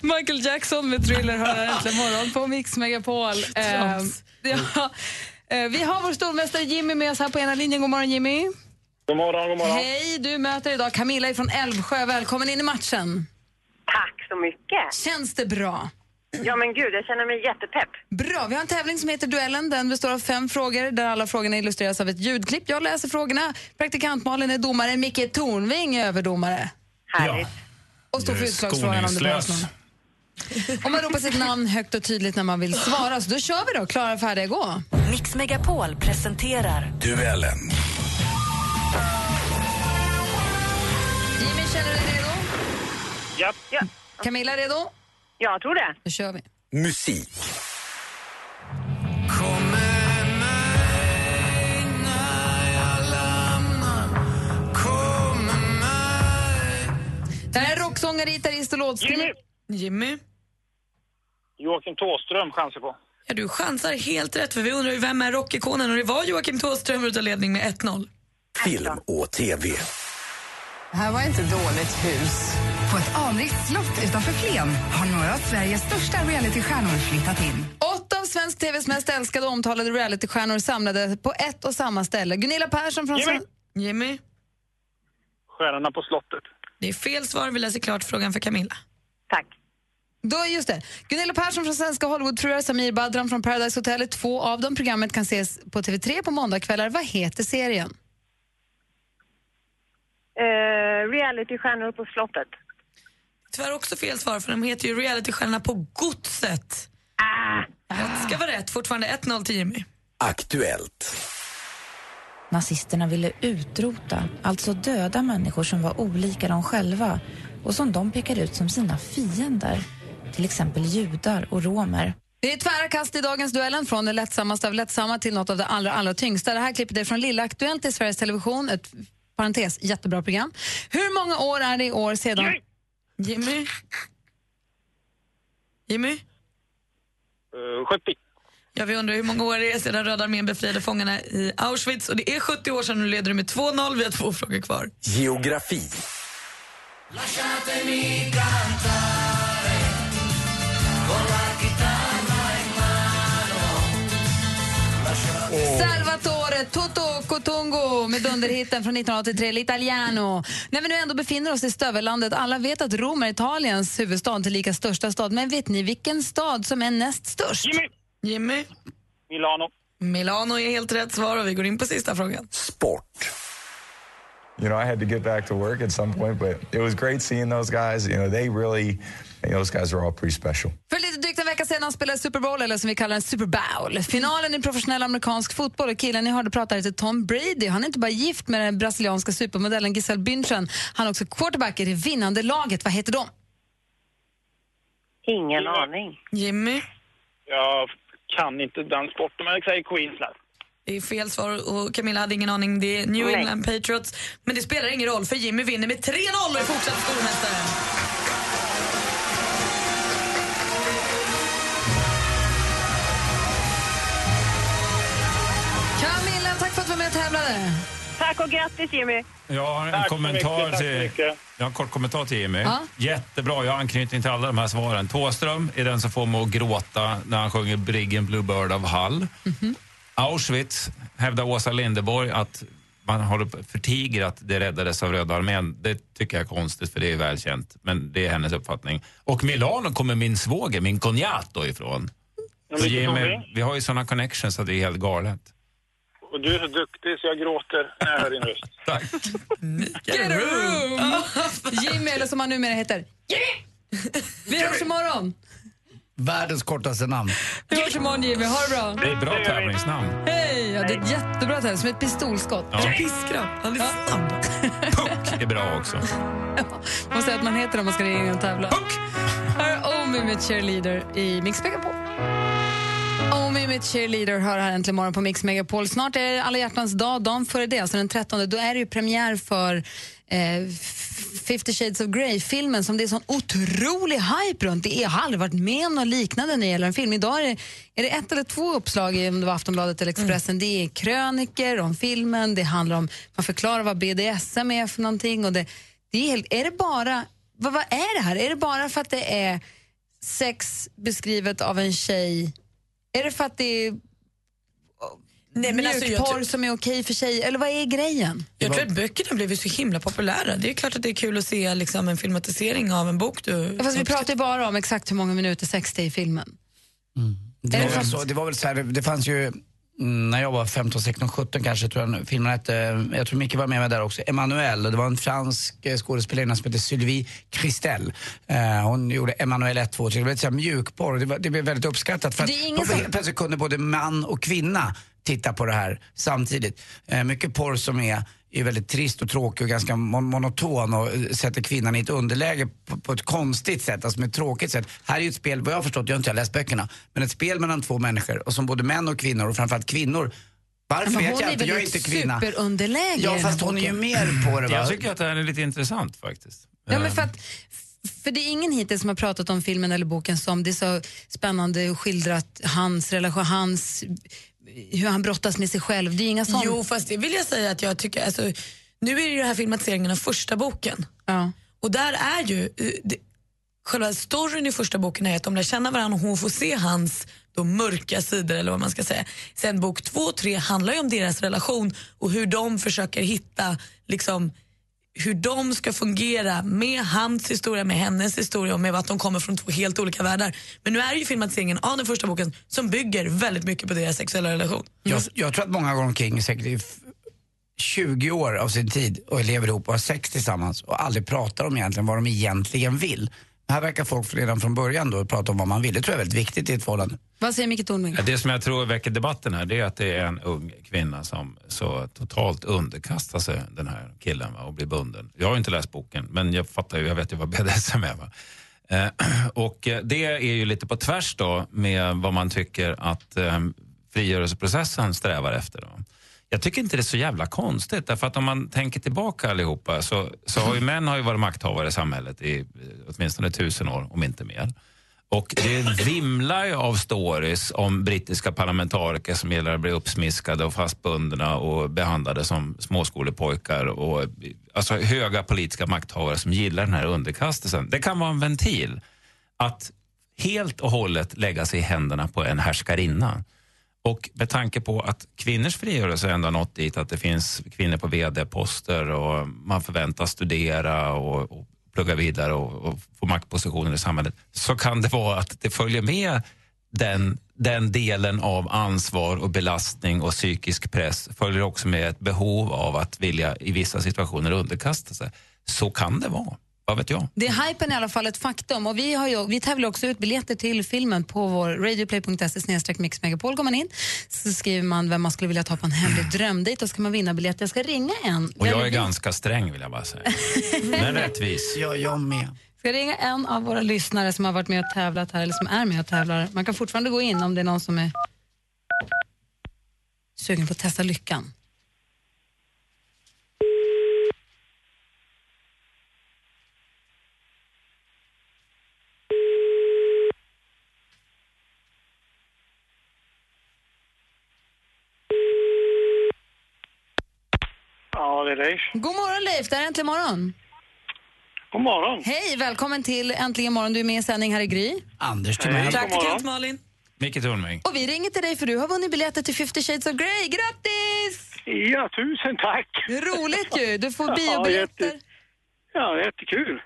Speaker 6: Michael Jackson med Thriller hör här äntligen morgon på Mix Megapol. Eh,
Speaker 9: Trams.
Speaker 6: ja, eh, vi har vår stormästare Jimmy med oss här på ena linjen. God morgon Jimmy.
Speaker 17: God morgon, god morgon.
Speaker 6: Hej, du möter idag Camilla från Älvsjö. Välkommen in i matchen.
Speaker 18: Tack så mycket.
Speaker 6: Känns det bra?
Speaker 18: Ja men gud, jag känner mig jättepepp.
Speaker 6: Bra, vi har en tävling som heter Duellen. Den består av fem frågor där alla frågorna illustreras av ett ljudklipp. Jag läser frågorna, praktikant Malin är domare, Micke Tornving är överdomare.
Speaker 8: Härligt.
Speaker 6: Och står för
Speaker 8: Du är
Speaker 6: utslagsfrågan om det behövs någon.
Speaker 8: skoningslös.
Speaker 6: Om man ropar sitt namn högt och tydligt när man vill svara, så då kör vi då. Klara, färdiga, gå.
Speaker 4: Mix Megapol presenterar...
Speaker 5: Duellen.
Speaker 6: Jimmy, känner du dig redo? Ja. Camilla, redo?
Speaker 18: Jag tror det.
Speaker 6: Då kör vi.
Speaker 5: Musik.
Speaker 6: Det här är rocksångare, gitarrist och låtskrivare.
Speaker 9: Jimmy.
Speaker 17: Joakim Thåström chansar på.
Speaker 9: Ja, du chansar helt rätt, för vi undrar ju vem är rockikonen och det var Joakim Thåström utav ledning med 1-0.
Speaker 5: Film och TV.
Speaker 19: Det här var inte dåligt hus. På ett anrikt slott utanför Flen har några av Sveriges största realitystjärnor flyttat in.
Speaker 6: Åtta av svensk tvs mest älskade och omtalade realitystjärnor samlade på ett och samma ställe. Gunilla Persson från...
Speaker 9: Jimmy.
Speaker 6: Sven-
Speaker 9: Jimmy.
Speaker 17: Stjärnorna på slottet.
Speaker 9: Det är fel svar, vi läser klart frågan för Camilla.
Speaker 6: Då, just det. Gunilla Persson från Svenska Hollywoodfruar, Samir Badran från Paradise Hotel. är Två av dem. Programmet kan ses på TV3 på måndagkvällar. Vad heter serien?
Speaker 18: Uh, Realitystjärnor på slottet.
Speaker 9: Tyvärr också fel svar, för de heter ju Realitystjärnorna på godset. Rätt ska vara rätt, fortfarande 1-0 till Jimmy.
Speaker 5: Aktuellt.
Speaker 20: Nazisterna ville utrota, alltså döda människor som var olika dem själva och som de pekade ut som sina fiender, till exempel judar och romer.
Speaker 6: Det är tvära kast i dagens duellen från det lättsammaste av lättsamma till något av det allra, allra tyngsta. Det här klippet är från Lilla Aktuellt i Sveriges Television. Ett parentes, jättebra program. Hur många år är det i år sedan...
Speaker 9: Jimmy? Jimmy?
Speaker 17: Uh, 70.
Speaker 9: Ja, vi undrar hur många år det är sedan Röda armén befriade fångarna i Auschwitz och det är 70 år sedan, nu leder du med 2-0, vi har två frågor kvar.
Speaker 5: Geografi.
Speaker 6: Salvatore Toto Cotungo med dunderhitten från 1983, L'Italiano. När vi nu ändå befinner oss i stövellandet, alla vet att Rom är Italiens huvudstad, till lika största stad. Men vet ni vilken stad som är näst störst? Jimmy!
Speaker 9: Jimmy?
Speaker 17: Milano.
Speaker 9: Milano är helt rätt svar och vi går in på sista frågan.
Speaker 21: sport. You know, I had to get back to work at some point, but it was great seeing those guys. You know, they really, you know, those guys are all pretty special.
Speaker 6: För lite drygt en vecka sedan spelade Super Bowl, eller som vi kallar den, Super Bowl. Finalen i professionell amerikansk fotboll och killen ni hörde prata heter Tom Brady. Han är inte bara gift med den brasilianska supermodellen Giselle Bündchen, han är också quarterback i det vinnande laget. Vad heter de?
Speaker 18: Ingen aning.
Speaker 9: Jimmy?
Speaker 17: Jag kan inte den sporten, men jag säger Queensland.
Speaker 9: Det är fel svar och Camilla hade ingen aning. Det är New
Speaker 17: Nej.
Speaker 9: England Patriots. Men det spelar ingen roll för Jimmy vinner med 3-0 och är fortsatt stormästare.
Speaker 6: Camilla, tack för att du var med och tävlade.
Speaker 18: Tack Tack och grattis Jimmy!
Speaker 8: Jag har en
Speaker 18: Tack så
Speaker 8: kommentar
Speaker 18: mycket, tack så
Speaker 8: till... Jag har en kort kommentar till Jimmy.
Speaker 18: Ja.
Speaker 8: Jättebra, jag har anknytning till alla de här svaren. Tåström är den som får mig att gråta när han sjunger Briggen Bluebird av Hall. Auschwitz hävdar Åsa Linderborg att man har förtiger att det räddades av Röda armén. Det tycker jag är konstigt, för det är välkänt. Men det är hennes uppfattning. Och Milano kommer min svåger, min cognato, ifrån.
Speaker 17: Ja,
Speaker 8: Så
Speaker 17: vilken
Speaker 8: Jimmy,
Speaker 17: åldring?
Speaker 8: vi har ju såna connections att det är helt galet.
Speaker 17: Och du är så duktig så jag gråter när jag hör din röst.
Speaker 8: Tack.
Speaker 6: Get a room! Jimmy, eller som han numera heter, Jimmy! Vi hörs imorgon!
Speaker 7: Världens kortaste namn.
Speaker 6: Vi hörs imorgon Jimmy, ha det bra!
Speaker 8: Det är ett bra tävlingsnamn.
Speaker 6: Hej! Ja, det är ett jättebra tävling, som ett pistolskott.
Speaker 8: Ja. En
Speaker 6: Piskrapp, han är snabb.
Speaker 8: Det är bra också.
Speaker 6: Man säger att man heter om man ska ringa in och tävla. Här är Omi med Cheerleader i Mix Megapol. Omi med Oh, Cheerleader hör här äntligen morgon på Mix Megapol. Snart är det alla hjärtans dag, dagen före det, alltså den 13. Då är det ju premiär för eh, 50 shades of Grey-filmen som det är sån otrolig hype runt. Det är, jag har aldrig varit med om något liknande när det gäller en film. Idag är det, är det ett eller två uppslag i om det var Aftonbladet eller Expressen. Det är kröniker om filmen, det handlar om, man förklarar vad BDSM är för någonting. Och det, det är, helt, är det bara, vad, vad är det här? Är det bara för att det är sex beskrivet av en tjej? Är det för att det är
Speaker 9: Nej, men alltså, jag
Speaker 6: mjukporr
Speaker 9: tror-
Speaker 6: som är okej för tjejer? Eller vad är grejen?
Speaker 9: Jag tror att böckerna har blivit så himla populära. Det är klart att det är kul att se liksom, en filmatisering av en bok. Du...
Speaker 6: Fast vi pratar ju bara om exakt hur många minuter sex det är i filmen.
Speaker 7: Det
Speaker 6: Är
Speaker 7: var,
Speaker 6: det
Speaker 7: väl
Speaker 6: sant?
Speaker 7: så, det var väl så här, det fanns ju mm, när jag var 15, 16, 17 kanske, tror jag filmen hette, jag tror Micke var med mig där också, Emmanuelle. Det var en fransk eh, skådespelerina som hette Sylvie Christel. Eh, hon gjorde Emmanuelle 1, 2, 3. Det blev ett så här mjukporr. Det, var, det blev väldigt uppskattat. För
Speaker 6: Det är
Speaker 7: att
Speaker 6: ingen
Speaker 7: då
Speaker 6: som-
Speaker 7: helt plötsligt kunde både man och kvinna titta på det här samtidigt. Eh, mycket porr som är är väldigt trist och tråkig och ganska mon- monoton och eh, sätter kvinnan i ett underläge på, på ett konstigt sätt, alltså med ett tråkigt sätt. Här är ju ett spel, vad jag har förstått, jag har inte läst böckerna, men ett spel mellan två människor och som både män och kvinnor och framförallt kvinnor. Varför
Speaker 6: Men
Speaker 7: vet
Speaker 6: hon
Speaker 7: jag
Speaker 6: är
Speaker 7: inte,
Speaker 6: väl
Speaker 7: jag är
Speaker 6: i
Speaker 7: inte
Speaker 6: ett
Speaker 7: kvinna.
Speaker 6: superunderläge i
Speaker 7: Ja,
Speaker 6: den
Speaker 7: fast
Speaker 6: här
Speaker 7: hon är ju
Speaker 6: boken.
Speaker 7: mer på det va?
Speaker 8: Jag tycker att det här är lite intressant faktiskt.
Speaker 6: Ja, men
Speaker 7: Mm.
Speaker 8: Eh,
Speaker 6: för, att, för det är ingen hittills som har pratat om filmen eller boken som det är så spännande skildrat hans relation, hans, hur han brottas med sig själv. Det är inga sånt.
Speaker 9: Jo, fast det vill jag säga att jag tycker... Alltså, nu är det ju den här filmatiseringen av första boken. Och där är ju... eh, Det, själva storyn i första boken är att de lär känna varandra och hon får se hans då mörka sidor eller vad man ska säga. Sen bok två och tre handlar ju om deras relation och hur de försöker hitta liksom hur de ska fungera med hans historia, med hennes historia och med att de kommer från två helt olika världar. Men nu är det ju filmatiseringen av den första boken som bygger väldigt mycket på deras sexuella relation.
Speaker 7: Jag, jag tror att många går omkring säkert i f- 20 år av sin tid och lever ihop och har sex tillsammans och aldrig pratar om egentligen vad de egentligen vill. Här verkar folk redan från början då prata om vad man vill. Det tror jag är väldigt viktigt i ett förhållande.
Speaker 6: Vad säger Micke Tornving?
Speaker 8: Det som jag tror väcker debatten här det är att det är en ung kvinna som så totalt underkastar sig den här killen va, och blir bunden. Jag har ju inte läst boken, men jag fattar ju, jag vet ju vad BDSM är. Va? Eh, och eh, det är ju lite på tvärs då med vad man tycker att eh, frigörelseprocessen strävar efter. Då. Jag tycker inte det är så jävla konstigt, därför att om man tänker tillbaka allihopa så, så har ju män har ju varit makthavare i samhället i eh, åtminstone tusen år, om inte mer. Och det vimlar ju av stories om brittiska parlamentariker som gillar att bli uppsmiskade och fastbundna och behandlade som småskolepojkar. Och, alltså höga politiska makthavare som gillar den här underkastelsen. Det kan vara en ventil att helt och hållet lägga sig i händerna på en härskarinna. Och med tanke på att kvinnors frigörelse ändå har nått dit att det finns kvinnor på vd-poster och man förväntas studera och, och plugga vidare och, och få maktpositioner i samhället så kan det vara att det följer med den, den delen av ansvar och belastning och psykisk press följer också med ett behov av att vilja i vissa situationer underkasta sig. Så kan det vara. Vad vet jag?
Speaker 6: Det är hypen i alla fall ett faktum och vi, har ju, vi tävlar också ut biljetter till filmen på vår radioplay.se mixmegapol. Går man in så skriver man vem man skulle vilja ta på en hemlig drömdejt och ska man vinna biljetter. Jag ska ringa en.
Speaker 8: Och jag är
Speaker 6: Eller-
Speaker 8: ganska sträng vill jag bara säga. Men rättvis.
Speaker 7: Ja, jag med.
Speaker 6: ska ringa en av våra lyssnare som har varit med och tävlat här eller som är med och tävlar. Man kan fortfarande gå in om det är någon som är sugen på att testa lyckan.
Speaker 3: Ja, det är Leif.
Speaker 6: God morgon Leif, det här är Äntligen morgon.
Speaker 3: God morgon.
Speaker 6: Hej, välkommen till Äntligen morgon. Du är med i sändning här i Gry.
Speaker 7: Anders
Speaker 8: Timell.
Speaker 6: Praktikant Malin.
Speaker 8: Micke Tornving.
Speaker 6: Och vi ringer till dig för du har vunnit biljetter till 50 Shades of Grey. Grattis!
Speaker 3: Ja, tusen tack.
Speaker 6: Roligt ju! Du får
Speaker 3: Ja,
Speaker 6: biobiljetter.
Speaker 3: jätte- Ja, jättekul.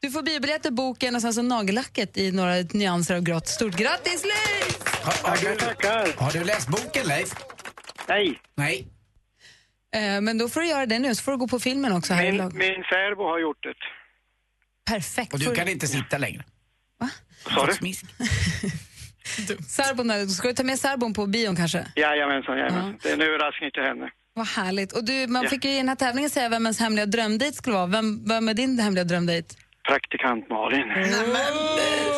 Speaker 6: Du får biobiljetter, boken och sen så nagellacket i några nyanser av grått. Stort grattis Leif!
Speaker 7: Tackar, tackar. Har du läst boken Leif?
Speaker 3: Nej.
Speaker 7: Nej.
Speaker 6: Eh, Men då får du göra det nu, så får du gå på filmen också. Här i
Speaker 3: Min,
Speaker 6: lag.
Speaker 3: min särbo har gjort det.
Speaker 6: Perfekt.
Speaker 7: Och
Speaker 6: Får
Speaker 7: du kan inte sitta längre.
Speaker 3: Sa du?
Speaker 6: Särbon där, ska du ta med särbon på bion kanske?
Speaker 3: Jajamensan, jajamensan. Det är en överraskning till henne.
Speaker 6: Vad härligt. Och du, man
Speaker 3: Ja.
Speaker 6: fick ju i den här tävlingen säga vem ens hemliga drömdejt skulle vara. Vem, vem är din hemliga drömdejt?
Speaker 3: Praktikant Malin.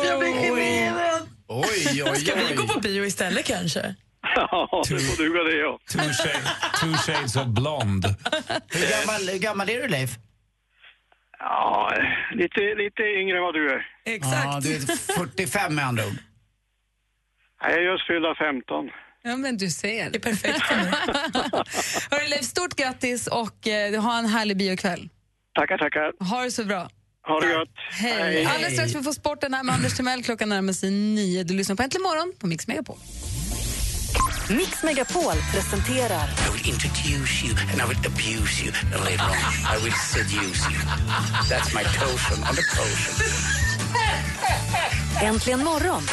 Speaker 9: Jag blir generad.
Speaker 7: Oj, oj,
Speaker 9: Ska vi
Speaker 7: oj.
Speaker 9: gå på bio istället kanske?
Speaker 3: Ja, nu får duga det ja.
Speaker 8: Two, shades, two shades of blond.
Speaker 7: Hur gammal, hur gammal är du Leif?
Speaker 3: Ja, lite, lite yngre än vad du är.
Speaker 7: Exakt. Ja, du är 45 med andra ord.
Speaker 3: Jag är just fyllda 15.
Speaker 6: Ja, men du ser. Det är perfekt för mig. Hörru, Leif, stort grattis och eh, ha en härlig biokväll.
Speaker 3: Tackar, tackar.
Speaker 6: Ha det så bra.
Speaker 3: Ha det gött.
Speaker 6: Hej. Alldeles strax vi får sporten här med Anders Timell. Klockan närmar sig nio. Du lyssnar på Äntligen morgon på Mix Megapol.
Speaker 4: Mix Megapol presenterar...
Speaker 5: I will introduce you and I will abuse you later on. I will seduce you. That's my potion on the potion.
Speaker 4: Äntligen morgon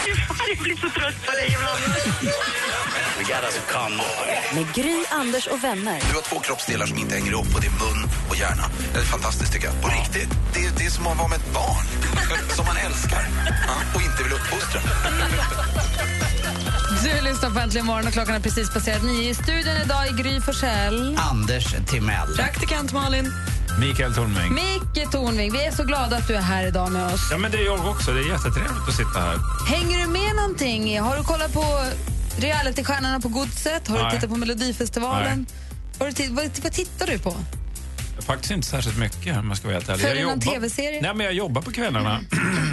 Speaker 5: Jag blir så trött på dig ibland. We got us come on.
Speaker 4: med Gry, Anders och vänner.
Speaker 5: Du har två kroppsdelar som inte hänger ihop och det är mun och hjärna. Det är fantastiskt tycker jag. På riktigt. Det är, det är som att vara med ett barn som man älskar ja, och inte vill uppfostra.
Speaker 6: Du lyssnar på Äntligen morgon och klockan är precis passerat nio. I studion idag är Gry Forssell.
Speaker 7: Anders Timell.
Speaker 6: Praktikant Malin.
Speaker 8: Mikael Tornving.
Speaker 6: Micke Tornving. Vi är så glada att du är här idag med oss.
Speaker 8: Ja, men det är jag också. Det är jättetrevligt att sitta här.
Speaker 6: Hänger du med någonting? Har du kollat på realitystjärnorna på Godset? Har du
Speaker 8: Nej.
Speaker 6: tittat på Melodifestivalen? Har du titt- vad, vad tittar du på?
Speaker 8: Faktiskt inte särskilt mycket om jag ska vara helt ärlig.
Speaker 6: Följer
Speaker 8: Jag
Speaker 6: någon
Speaker 8: jobbar-
Speaker 6: TV-serie?
Speaker 8: Nej, men jag jobbar på kvällarna.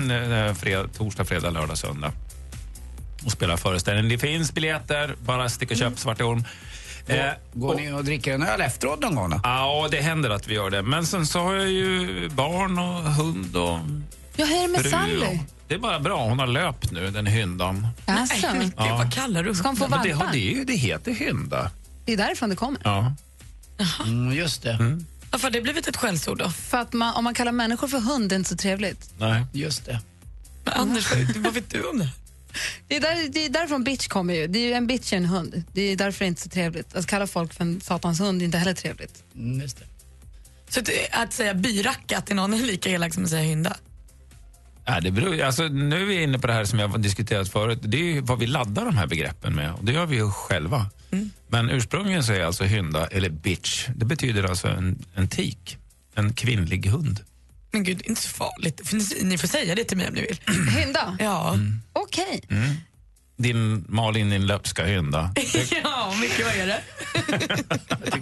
Speaker 8: Eh, fred, torsdag, fredag, lördag, söndag. Och spelar föreställning. Det finns biljetter. Bara stick och köp
Speaker 6: Mm.
Speaker 8: Svarta Orm. Eh,
Speaker 7: Går ni och dricker en öl efteråt någon gång då?
Speaker 8: Ja, det händer att vi gör det. Men sen så har jag ju barn och hund och
Speaker 6: Ja, hur är det med
Speaker 8: fru
Speaker 6: Sally?
Speaker 8: och- Det är bara bra. Hon har löpt nu, den hyndan.
Speaker 6: Alltså,
Speaker 8: Ja. vad
Speaker 9: kallar du
Speaker 6: Ska hon få
Speaker 8: Men det,
Speaker 6: valpar?
Speaker 8: det, är ju, det heter hynda.
Speaker 6: Det är därifrån det kommer.
Speaker 8: Ja.
Speaker 7: Mm, just det.
Speaker 9: Varför har det blivit ett skällsord då?
Speaker 6: För att man, om man kallar människor för hund, det är inte så trevligt.
Speaker 8: Nej.
Speaker 7: Just det.
Speaker 9: Men Anders, vad- vad vet du om det?
Speaker 6: Det är, där, det är därifrån bitch kommer ju. Det är ju en bitch är en hund. Det är därför det är inte så trevligt. Att kalla folk för en satans hund är inte heller trevligt.
Speaker 7: Mm, just det.
Speaker 9: Så att, att säga byracka till någon är lika elak som att säga hynda?
Speaker 8: Ja, det beror, alltså, nu är vi inne på det här som jag har diskuterat förut. Det är ju vad vi laddar de här begreppen med. Och det gör vi ju själva. Men ursprungligen så är alltså hynda, eller bitch, det betyder alltså en, en tik. En kvinnlig hund.
Speaker 9: Men gud, inte så farligt. För ni- Ni får säga det till mig om ni vill.
Speaker 7: Mm.
Speaker 6: Hynda?
Speaker 9: Ja.
Speaker 6: Okej.
Speaker 8: Mm. Din Malin, din löpska hynda.
Speaker 9: ja, mycket vad är det?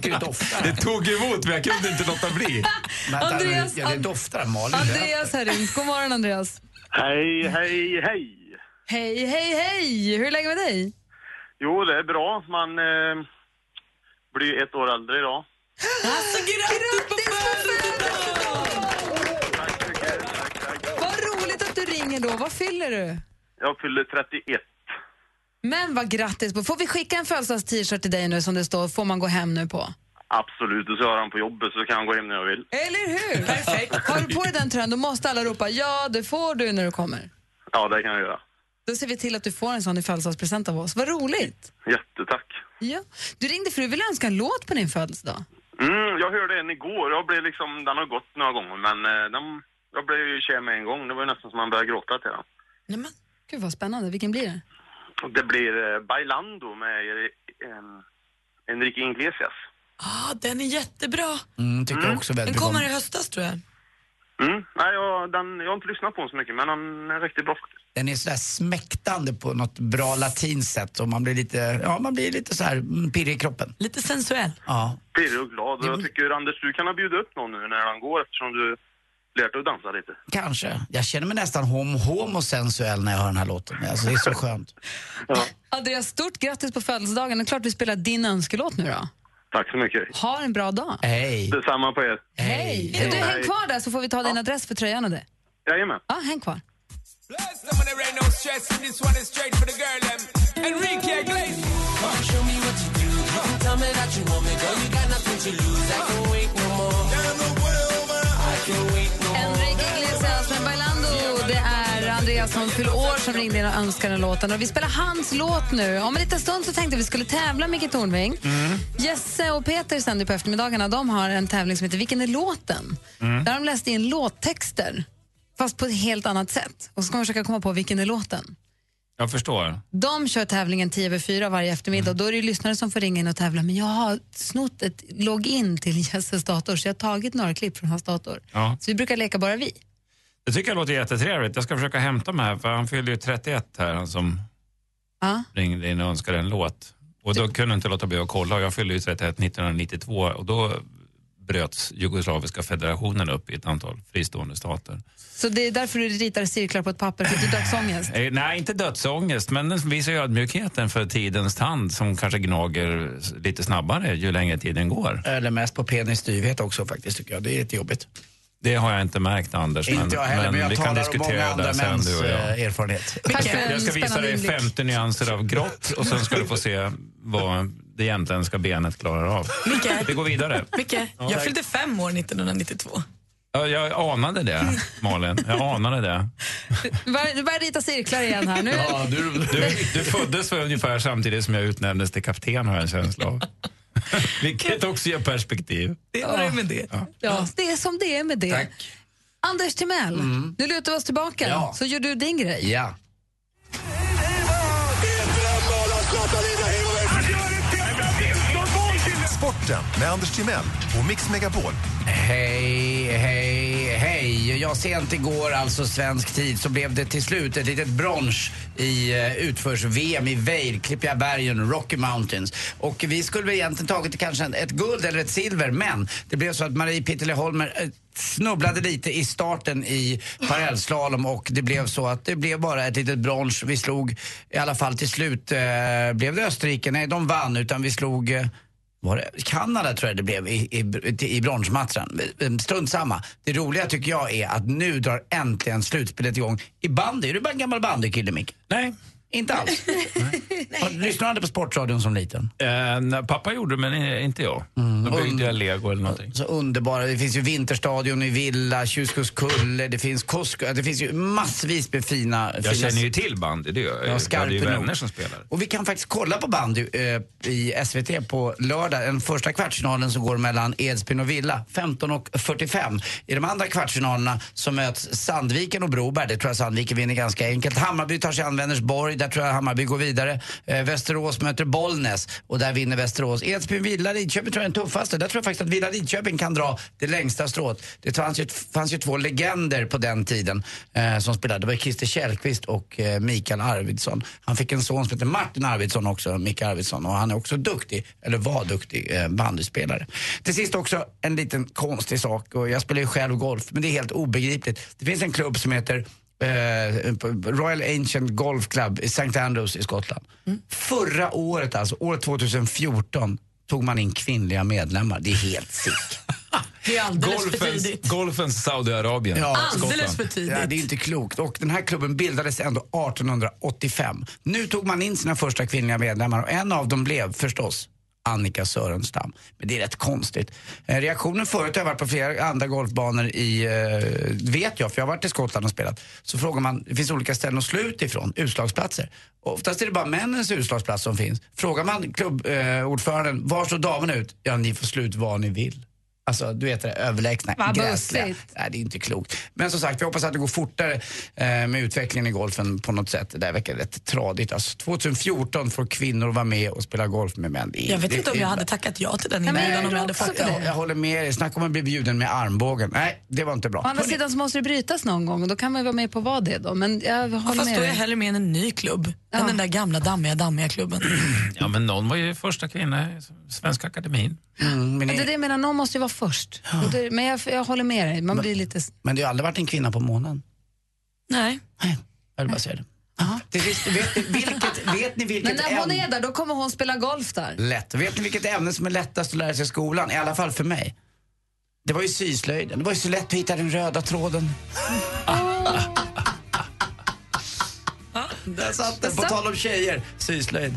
Speaker 8: Det tog emot, men jag kunde inte låta bli.
Speaker 7: Vänta,
Speaker 6: Andreas,
Speaker 7: ja, det doftar Malin.
Speaker 6: Andreas har ringt. God morgon, Andreas.
Speaker 22: Hej, hej, hej!
Speaker 6: Hej, hej, hej! Hur är läget med dig?
Speaker 22: Jo, det är bra. Man eh, blir ett år äldre idag.
Speaker 9: Alltså, grattis på födelsedagen!
Speaker 6: Vad roligt att du ringer då. Vad fyller du?
Speaker 22: Jag fyller 31.
Speaker 6: Men vad grattis på. Får vi skicka en födelsedags-t-shirt till dig nu som det står får man gå hem nu på?
Speaker 22: Absolut, och så har han på jobbet så kan han gå hem när jag vill.
Speaker 6: Eller hur? Perfekt. Har du på dig den tröjan då måste alla ropa ja, det får du när du kommer.
Speaker 22: Ja, det kan jag göra.
Speaker 6: Då ser vi till att du får en sån i födelsedagspresent av oss. Vad roligt!
Speaker 22: Jättetack.
Speaker 6: Ja. Du ringde för du ville önska en låt på din födelsedag.
Speaker 22: Mm, jag hörde en igår. Jag blev liksom, den har gått några gånger, men eh, den, jag blev ju kär med en gång. Det var ju nästan som man började gråta till den.
Speaker 6: Gud vad spännande. Vilken blir det?
Speaker 22: Och Det blir eh, Bailando med eh, Enrique Iglesias.
Speaker 9: Ah, den är jättebra.
Speaker 7: Mm, tycker jag också
Speaker 9: Den
Speaker 22: väldigt
Speaker 9: kommer i höstas tror jag.
Speaker 22: Mm. Nej, jag, den, jag har inte lyssnat på honom så mycket, men han är riktigt bra.
Speaker 7: Den är sådär smäktande på något bra latinskt sätt och man blir lite, ja man blir lite så här mm, pirrig i kroppen.
Speaker 9: Lite sensuell.
Speaker 7: Ja.
Speaker 22: Pirrig och glad. Och jag tycker Anders, du kan ha bjudit upp någon nu när han går eftersom du lärt dig att dansa lite.
Speaker 7: Kanske. Jag känner mig nästan hom homosensuell när jag hör den här låten. Alltså, det är så skönt.
Speaker 6: Andreas, stort grattis på födelsedagen. Det är klart vi spelar din önskelåt nu då.
Speaker 22: Tack så mycket.
Speaker 6: Ha en bra dag.
Speaker 7: Hej.
Speaker 22: Detsamma på er.
Speaker 6: Hej. Du, häng kvar där så får vi ta din adress för tröjan och det.
Speaker 22: Jajamän.
Speaker 6: Ja, häng kvar.
Speaker 1: Show me what you do. Tell me that you want me, girl. You got nothing to lose. I can wait no more. I can wait no more.
Speaker 6: Enrique Iglesias med Bailando. Det är Andreas som fyller år som ringde in och önskade den här låten. Och vi spelar hans låt nu. Om en liten stund så tänkte vi skulle tävla Micke Tornving. Jesse och Peter sänder på eftermiddagarna. De har en tävling som heter Vilken är låten?
Speaker 11: Mm.
Speaker 6: Där de läste in låttexter, fast på ett helt annat sätt. Och så ska man försöka komma på vilken är låten.
Speaker 8: Jag förstår.
Speaker 6: De kör tävlingen 10 över 4 varje eftermiddag
Speaker 9: Mm.
Speaker 6: och då är det ju lyssnare som får ringa in och tävla. Men jag har snott ett login till Jesses dator så jag har tagit några klipp från hans dator.
Speaker 8: Ja.
Speaker 6: Så vi brukar leka bara vi.
Speaker 8: Det tycker jag låter jättetrevligt. Jag ska försöka hämta mig här, för han fyllde ju 31 här, han som
Speaker 6: Ja.
Speaker 8: ringde in och önskade en låt. Och
Speaker 7: Typ.
Speaker 8: då kunde jag inte låta bli att kolla. Jag fyllde ju 31 1992 och då bröts Jugoslaviska federationen upp i ett antal fristående stater.
Speaker 6: Så det är därför du ritar cirklar på ett papper. Fick du dödsångest?
Speaker 8: Eh, Nej, inte dödsångest, men den visar ju ödmjukheten för tidens tand som kanske gnager s- lite snabbare ju längre tiden går.
Speaker 7: Eller mest på penis styvhet också faktiskt tycker jag. Det är jättejobbigt.
Speaker 8: Det har jag inte märkt, Anders.
Speaker 7: inte jag heller, men, jag
Speaker 8: vi kan
Speaker 7: talar om många
Speaker 8: diskutera det
Speaker 7: andra
Speaker 8: här sen,
Speaker 7: mäns
Speaker 8: du och jag.
Speaker 7: eh, erfarenhet.
Speaker 6: Tack för
Speaker 8: Jag ska
Speaker 6: en
Speaker 8: visa
Speaker 6: spännande
Speaker 8: dig
Speaker 6: inblick.
Speaker 8: 50 nyanser av grått och sen ska du få se vad det jämtländska benet klarar av.
Speaker 9: Micke.
Speaker 8: Vi går vidare.
Speaker 9: Micke,
Speaker 8: Ja,
Speaker 9: jag
Speaker 8: tack.
Speaker 9: fyllde fem år 1992.
Speaker 8: Ja, Jag anade det, Malin. Jag anade det.
Speaker 6: Du börjar- Du börjar rita cirklar igen här. Nu.
Speaker 8: du, du föddes för ungefär samtidigt som jag utnämndes till kapten, har jag en känsla av. Vilket också ger perspektiv.
Speaker 9: Det var det med det.
Speaker 6: Ja, det är som det är med det. Anders Timell,
Speaker 9: Mm.
Speaker 6: nu lutar vi oss tillbaka så gör du din grej.
Speaker 7: Ja.
Speaker 23: Sporten med Anders Timell och Mix Megapol.
Speaker 7: Hej, hej, hej. Ja, sent igår, alltså svensk tid, så blev det till slut ett litet brons i eh, utförs-VM i Vail, Klippiga bergen, Rocky Mountains. Och vi skulle väl egentligen tagit kanske ett guld eller ett silver, men det blev så att Marie Pitele Holmer eh, snubblade lite i starten i parallellslalom och det blev så att det blev bara ett litet brons. Vi slog, i alla fall till slut, eh, blev det Österrike? Nej, de vann, utan vi slog eh, var det? Kanada tror jag det blev i, i, i bronsmatchen. Ehm, Strunt samma. Det roliga tycker jag är att nu drar äntligen slutspelet igång i bandy. Är du bara en gammal bandykille, Mick?
Speaker 8: Nej.
Speaker 7: Inte alls? Har- Lyssnade du aldrig på Sportradion som liten?
Speaker 8: Eh, nej, pappa gjorde det, men eh, inte jag.
Speaker 7: Mm.
Speaker 8: Då byggde jag lego eller någonting.
Speaker 7: Så underbara. Det finns ju Vinterstadion i Villa, Tjuskuskulle, det finns Kosko. Det finns ju massvis med fina...
Speaker 8: Jag
Speaker 7: fina
Speaker 8: känner ju till bandy, det gör jag.
Speaker 7: Ja,
Speaker 8: jag hade ju
Speaker 7: Skarpenor.
Speaker 8: vänner som spelade.
Speaker 7: Och vi kan faktiskt kolla på bandy eh, i SVT på lördag. Den första kvartsfinalen som går mellan Edsbyn och Villa, 15.45. I de andra kvartsfinalerna så möts Sandviken och Broberg. Det tror jag Sandviken vinner ganska enkelt. Hammarby tar sig an Vänersborg. Där tror jag Hammarby går vidare. Eh, Västerås möter Bollnäs och där vinner Västerås. Edsbyn, Villa, Lidköping tror jag är den tuffaste. Där tror jag faktiskt att Villa Lidköping kan dra det längsta strået. Det fanns ju, fanns ju två legender på den tiden eh, som spelade. Det var Christer Kjellqvist och eh, Mikael Arvidsson. Han fick en son som heter Martin Arvidsson också, Mikael Arvidsson. Och han är också duktig, eller var duktig, eh, bandyspelare. Till sist också en liten konstig sak. Och jag spelar ju själv golf, men det är helt obegripligt. Det finns en klubb som heter eh, Royal Ancient Golf Club i St. Andrews i Skottland. Förra året, alltså år 2014, tog man in kvinnliga medlemmar. Det är helt sick.
Speaker 9: Det är alldeles för
Speaker 8: Golfens,
Speaker 9: tidigt.
Speaker 8: golfens Saudiarabien.
Speaker 7: Ah.
Speaker 9: alldeles för tidigt.
Speaker 7: Ja, det är inte klokt. Och den här klubben bildades ändå 1885. Nu tog man in sina första kvinnliga medlemmar och en av dem blev förstås Annika Sörenstam. Men det är rätt konstigt. Eh, Reaktionen förut har jag varit på flera andra golfbanor i, eh, vet jag, för jag har varit i Skottland och spelat. Så frågar man, det finns olika ställen att slå ut ifrån, utslagsplatser. Oftast är det bara männens utslagsplats som finns. Frågar man klubbordföranden, eh, ordföranden, var står damerna ut? Ja, ni får slå ut var ni vill. Alltså, du vet det där överlägsna,
Speaker 6: Vad
Speaker 7: gräsliga.
Speaker 6: bussigt.
Speaker 7: Nej, det är inte klokt. Men som sagt, vi hoppas att det går fortare eh, med utvecklingen i golfen på något sätt. Det där verkar rätt tradigt. Alltså, 2014 får kvinnor vara med och spela golf med män. Det är-
Speaker 9: Jag vet
Speaker 7: det
Speaker 9: inte om
Speaker 7: är-
Speaker 9: jag hade tackat ja till den
Speaker 7: Nej, men
Speaker 9: inbjudan
Speaker 7: jag
Speaker 9: om jag hade
Speaker 7: också
Speaker 9: fått
Speaker 7: på
Speaker 9: den.
Speaker 7: det. Jag håller med er. Snacka om att bli bjuden med armbågen. Nej, det var inte bra.
Speaker 6: Å andra sidan så måste det brytas någon gång och då kan man ju vara med på vad det är då. Men jag håller
Speaker 9: Fast
Speaker 6: med
Speaker 9: då är jag
Speaker 6: dig.
Speaker 9: hellre med i en ny klubb än den där gamla dammiga, dammiga klubben.
Speaker 8: Ja, men någon var ju första kvinna i Svenska Akademin.
Speaker 7: men,
Speaker 6: Alltså, Det är det jag menar, någon måste ju vara först. Och det- Men jag, jag håller med dig, man blir lite... s-
Speaker 7: men det har aldrig varit en kvinna på månen.
Speaker 9: Nej.
Speaker 7: Jag vill bara säga det. Till sist, vet, ni vilket, vet ni vilket
Speaker 6: Men när hon
Speaker 7: ämne-
Speaker 6: är där, då kommer hon spela golf där.
Speaker 7: Lätt. Vet ni vilket ämne som är lättast att lära sig i skolan? I alla fall för mig. Det var ju syslöjden. Det var ju så lätt att hitta den röda tråden. Där satt den. På tal om tjejer, syslöjd.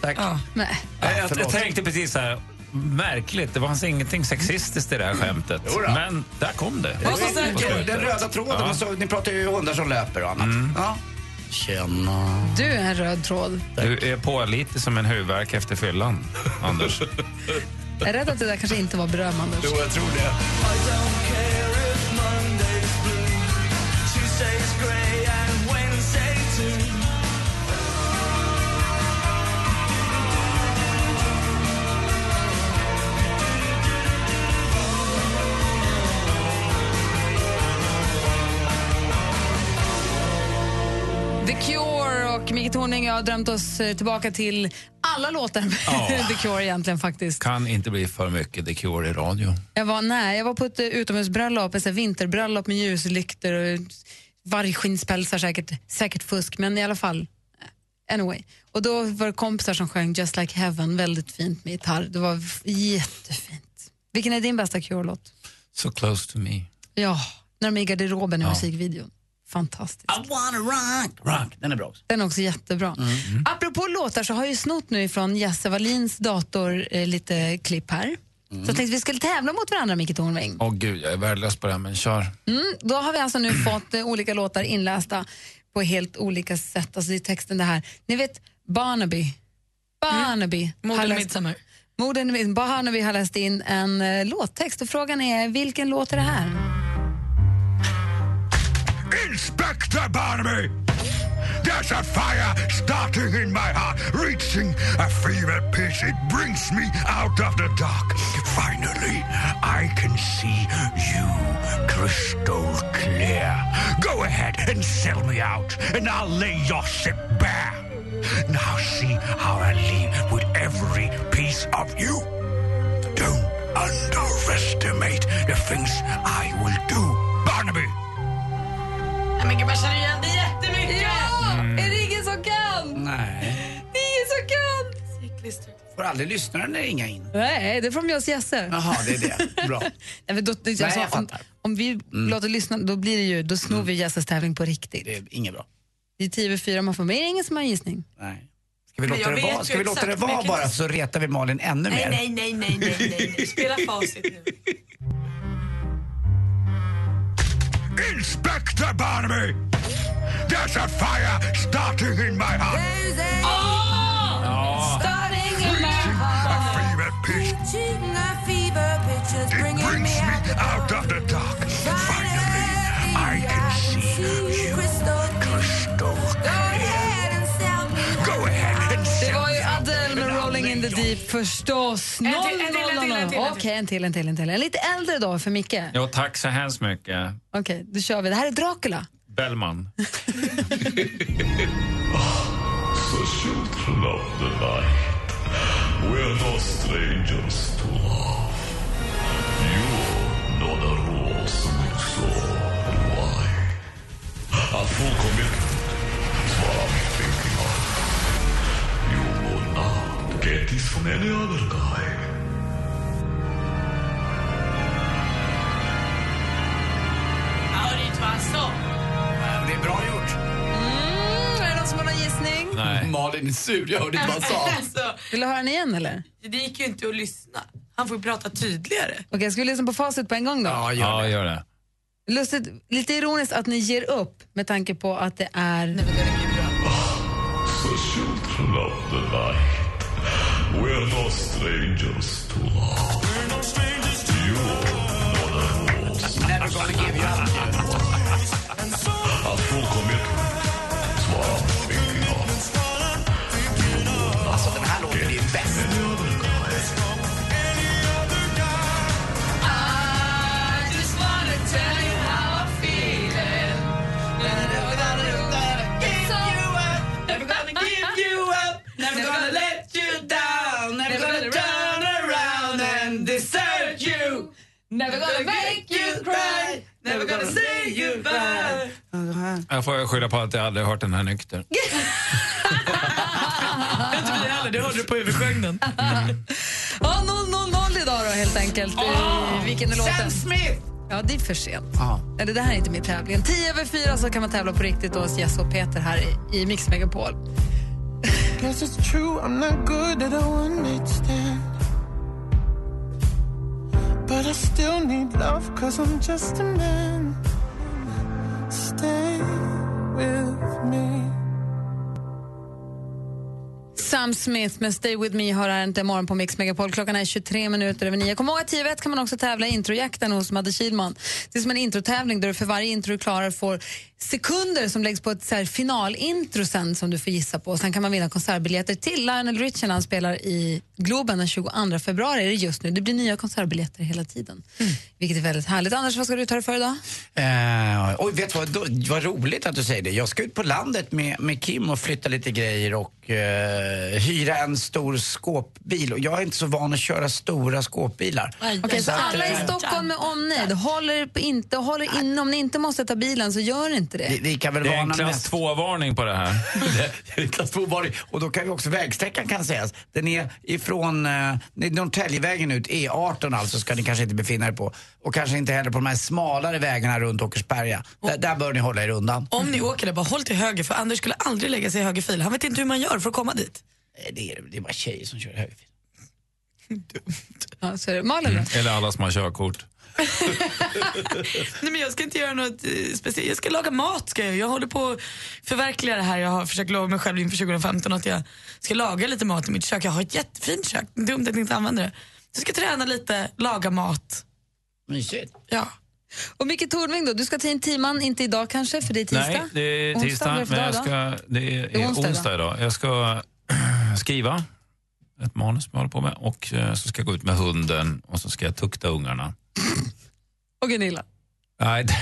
Speaker 7: Tack.
Speaker 6: Nej.
Speaker 8: Nej, jag, jag
Speaker 7: Ah, förlåt.
Speaker 8: tänkte precis så här. Märkligt, det fanns ingenting sexistiskt i det här skämtet.
Speaker 7: Mm. Jo då.
Speaker 8: Men där kom det.
Speaker 7: Vad som sagt,
Speaker 8: På slutet.
Speaker 7: Den röda tråden.
Speaker 8: Ja. Mm.
Speaker 7: Och så, ni pratar ju hundar som löper och annat. Ja. Tjena.
Speaker 6: Du är en röd tråd.
Speaker 8: Du är på lite som en huvudvärk efter fyllan, Anders.
Speaker 6: Jag är rädd att det där kanske inte var beröm, Anders.
Speaker 8: jo, jag tror det.
Speaker 6: The Cure och Micke Tornving, jag har drömt oss eh, tillbaka till alla låtar med The Cure egentligen faktiskt.
Speaker 8: Kan inte bli för mycket The Cure i radio.
Speaker 6: Jag var, nej, jag var på ett eh, utomhusbröllop, ett så här vinterbröllop med ljuslyktor och vargskinnspälsar säkert, säkert fusk, men i alla fall. Anyway. Och då var det kompisar som sjöng Just like heaven, väldigt fint med gitarr. Det var f- jättefint. Vilken är din bästa Cure-låt?
Speaker 8: So close to me.
Speaker 6: Ja, när de är i garderoben i
Speaker 8: Ja.
Speaker 6: musikvideon. Fantastiskt.
Speaker 7: I wanna rock. Rock. Den är bra också.
Speaker 6: Den är också jättebra. Apropå låtar så har jag ju snott nu ifrån Jesse Wallins dator eh, lite klipp här. Så jag tänkte vi skulle tävla mot varandra, Micke Tornving.
Speaker 8: Åh gud, jag är värdelös på det här, men kör.
Speaker 6: Mm, då har vi alltså nu fått eh, olika låtar inlästa på helt olika sätt. Alltså i texten det här. Ni vet Barnaby. Barnaby. Mm.
Speaker 9: Morden i Midsommar.
Speaker 6: Morden i Midsommar. Barnaby har läst in en eh, låttext och frågan är vilken låt är det här?
Speaker 10: Inspector Barnaby! There's a fire starting in my heart, reaching a fever pitch. It brings me out of the dark. Finally, I can see you crystal clear. Go ahead and sell me out, and I'll lay your ship bare. Now see how I leave with every piece of you. Don't underestimate the things I will do, Barnaby.
Speaker 9: Nej, men gud, man känner igen det jättemycket!
Speaker 6: Ja!
Speaker 7: Mm.
Speaker 6: Är det ingen som kan?
Speaker 7: Nej.
Speaker 6: Det är ingen som kan!
Speaker 7: Får aldrig lyssnaren ringa in.
Speaker 6: Nej, det får de göra hos Jesse.
Speaker 7: Jaha, det är det. Bra.
Speaker 6: Nej, men då, det,
Speaker 7: Nej,
Speaker 6: alltså,
Speaker 7: jag
Speaker 6: om,
Speaker 7: fattar. Mm.
Speaker 6: om vi låter lyssna, då blir det ju, då snor vi Jesses tävling på riktigt.
Speaker 7: Det är inget bra.
Speaker 6: Det är 10 över 4, man får med ingen som har en gissning.
Speaker 7: Nej. Ska vi
Speaker 9: Men
Speaker 7: låta
Speaker 9: jag
Speaker 7: det
Speaker 9: vet
Speaker 7: vara,
Speaker 9: ju
Speaker 7: Ska vi låta
Speaker 9: exakt,
Speaker 7: det
Speaker 9: men jag
Speaker 7: vara
Speaker 9: kan
Speaker 7: bara
Speaker 9: inte-
Speaker 7: så retar vi Malin ännu
Speaker 9: Nej,
Speaker 7: mer?
Speaker 9: nej, nej, nej, nej, nej, nej. Spela facit nu.
Speaker 10: Inspector Barnaby! There's a fire starting in my heart.
Speaker 1: Oh! Starting in my heart. Reaching a fever pitch is bringing me out,
Speaker 10: Out of the dark, finally, I can see you crystal clear. Go ahead and
Speaker 6: Det
Speaker 10: sell
Speaker 6: var ju
Speaker 10: me out,
Speaker 6: Adele
Speaker 10: and
Speaker 6: med
Speaker 10: I'll
Speaker 6: Rolling in the
Speaker 10: lay your
Speaker 6: deep förstås.
Speaker 10: En till,
Speaker 6: Noll,
Speaker 10: en till, en
Speaker 6: noll,
Speaker 10: till,
Speaker 6: noll,
Speaker 10: en
Speaker 6: noll.
Speaker 10: till, en till.
Speaker 6: Okej, en till, en till, en till. En lite äldre dag för Micke. Okej,
Speaker 8: Ja, tack så hemskt mycket.
Speaker 6: då kör vi. Det här är Dracula.
Speaker 8: Bellman.
Speaker 11: The children of the night, we're no strangers to love. You know the rules, so do I. A full commitment is what I'm thinking of. You will not get this from any other guy.
Speaker 9: Aurit Vasso.
Speaker 7: Det är bra gjort.
Speaker 6: Mm, är det någon som har någon gissning?
Speaker 7: Nej. Malin är sur, jag hörde inte vad han sa.
Speaker 9: Alltså,
Speaker 6: Vill du höra den igen eller?
Speaker 9: det gick ju inte att lyssna. Han får ju prata tydligare.
Speaker 6: Okej, ska vi lyssna på facit på en gång då?
Speaker 8: Ja, gör det.
Speaker 6: Lustigt, lite ironiskt att ni ger upp med tanke på att det är...
Speaker 11: The children of the night, we're no strangers to love. You know the rules.
Speaker 7: Never gonna give you up.
Speaker 11: A full commitment is what I'm thinking of.
Speaker 7: Alltså den här låten är ju bäst. Never gonna let you down, never gonna turn around and desert you. Never gonna make you cry, never gonna say you bye.
Speaker 8: Jag får skylla på att jag aldrig hört den här nykter.
Speaker 9: Inte vi heller, det hörde du på huvudskängen.
Speaker 6: Ja, 000 idag då helt enkelt.
Speaker 9: Åh,
Speaker 7: Ah.
Speaker 6: Oh, Vilken är
Speaker 9: Sam
Speaker 6: låten? Smith! Ja, det är för sent.
Speaker 7: Ja.
Speaker 6: Eller det här är inte min tävling. 10 över 4 så kan man tävla på riktigt hos Jesse och Peter här i- i Mix Megapol.
Speaker 1: Guess it's true, I'm not good at a one night stand. But I still need love, cause I'm just a man. Stay with me.
Speaker 6: Sam Smith med Stay With Me har här inte imorgon på Mix Megapol. Klockan är 23 minuter över 9. Kom ihåg att 10 över ett kan man också tävla i introjakten hos Madde Kihlman. Det är som en introtävling där du för varje intro du klarar får sekunder som läggs på ett så här finalintro sen som du får gissa på. Sen kan man vinna konsertbiljetter till Lionel Richie när han spelar i Globen den 22 februari. Är det just nu. Det blir nya konsertbiljetter hela tiden. Vilket är väldigt härligt. Anders, vad ska du ta dig för idag?
Speaker 7: Eh, oj, vet du vad, då- vad roligt att du säger det. Jag ska ut på landet med, med Kim och flytta lite grejer och eh, hyra en stor skåpbil. Och jag är inte så van att köra stora skåpbilar.
Speaker 6: Okej, så
Speaker 7: att,
Speaker 6: alla i
Speaker 7: eh,
Speaker 6: Stockholm med omnejd, håller på inte, håller in, om ni inte måste ta bilen så gör inte det.
Speaker 7: kan väl
Speaker 8: det är
Speaker 7: vara
Speaker 8: en
Speaker 7: någon
Speaker 8: klass
Speaker 7: mest-
Speaker 8: 2-varning på det här.
Speaker 7: Klass 2 var det. Och då kan vi också, vägsträckan kan sägas, den är ifrån eh, det är Norrtäljevägen ut, E18 alltså, ska ni kanske inte befinna er på. Och kanske inte heller på de här smalare vägarna runt Åkersberga. Där, där bör ni hålla er undan.
Speaker 9: Om ni åker där, bara håll till höger för Anders skulle aldrig lägga sig i höger fil. Han vet inte hur man gör för att komma dit.
Speaker 7: Nej, Eh, Det är, det är bara tjejer som kör högerfil.
Speaker 6: Ja, så är det. Malin då?
Speaker 8: Eller alla som har körkort.
Speaker 9: Nej, men jag ska inte göra något eh, speciellt. Jag ska laga mat. Ska jag. jag håller på att förverkliga det här. Jag har försökt lova mig själv inför 2015 att jag ska laga lite mat i mitt kök. Jag har ett jättefint kök. Dumt att jag inte använder det. Jag ska träna lite, laga mat.
Speaker 7: Mysigt.
Speaker 9: Ja.
Speaker 6: Och Micke Tornving då, du ska till en timman, inte idag kanske för det är tisdag?
Speaker 8: Nej, det är
Speaker 6: Onsdag, vad är
Speaker 8: tisdag.
Speaker 6: det för
Speaker 8: Men
Speaker 6: dag
Speaker 8: jag
Speaker 6: idag?
Speaker 8: ska, det är,
Speaker 6: Det är onsdag
Speaker 8: onsdag, idag. Jag ska skriva ett manus som jag håller på med och eh, så ska jag gå ut med hunden och så ska jag tukta ungarna.
Speaker 6: Och Gunilla.
Speaker 8: Nej, det,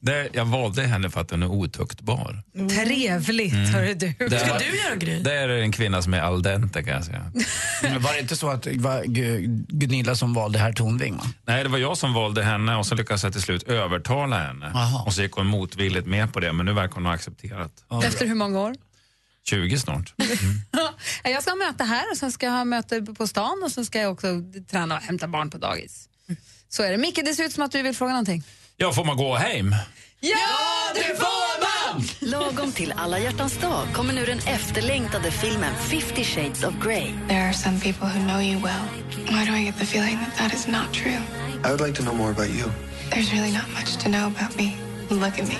Speaker 8: det, jag valde henne för att hon är otuktbar.
Speaker 6: Trevligt,
Speaker 8: Mm.
Speaker 6: hörru du.
Speaker 8: Där- Det är en kvinna som är al dente kan jag säga.
Speaker 7: Men Var det inte så att det var Gu- Gunilla som valde herr Tornving? va?
Speaker 8: Nej, det var jag som valde henne och så lyckades jag till slut övertala henne. Och så gick hon motvilligt med på det, men nu verkar hon ha accepterat.
Speaker 6: Efter hur många år?
Speaker 8: 20 snart.
Speaker 6: Mm. jag ska ha möte här och sen ska jag ha möte på stan och sen ska jag också träna och hämta barn på dagis. Så är det. Micke, det ser ut som att du vill fråga någonting.
Speaker 8: Ja, får man gå hem?
Speaker 6: Ja,
Speaker 4: det får man! Lagom till alla hjärtans dag kommer nu den efterlängtade filmen 50 shades of Grey.
Speaker 15: There are some people who know you well. Why do I get the feeling that that is not true?
Speaker 16: I would like to know more about you.
Speaker 15: There's really not much to know about me. Look at me.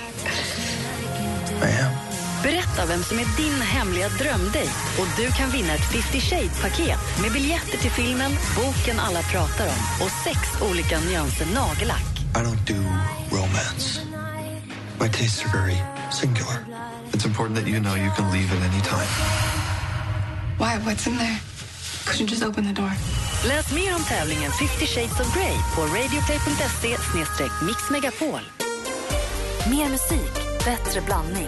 Speaker 4: Berätta vem som är din hemliga drömdejt och du kan vinna ett 50 Shades-paket med biljetter till filmen, boken alla pratar om och sex olika nyanser nagellack.
Speaker 16: I don't do romance. My tastes are very singular. It's important that you know you can leave at any time.
Speaker 15: Why? What's in there? Could you just open the door?
Speaker 4: Läs mer om tävlingen 50 Shades of Grey på radioplay.se mixmegapol. Mer musik, bättre blandning.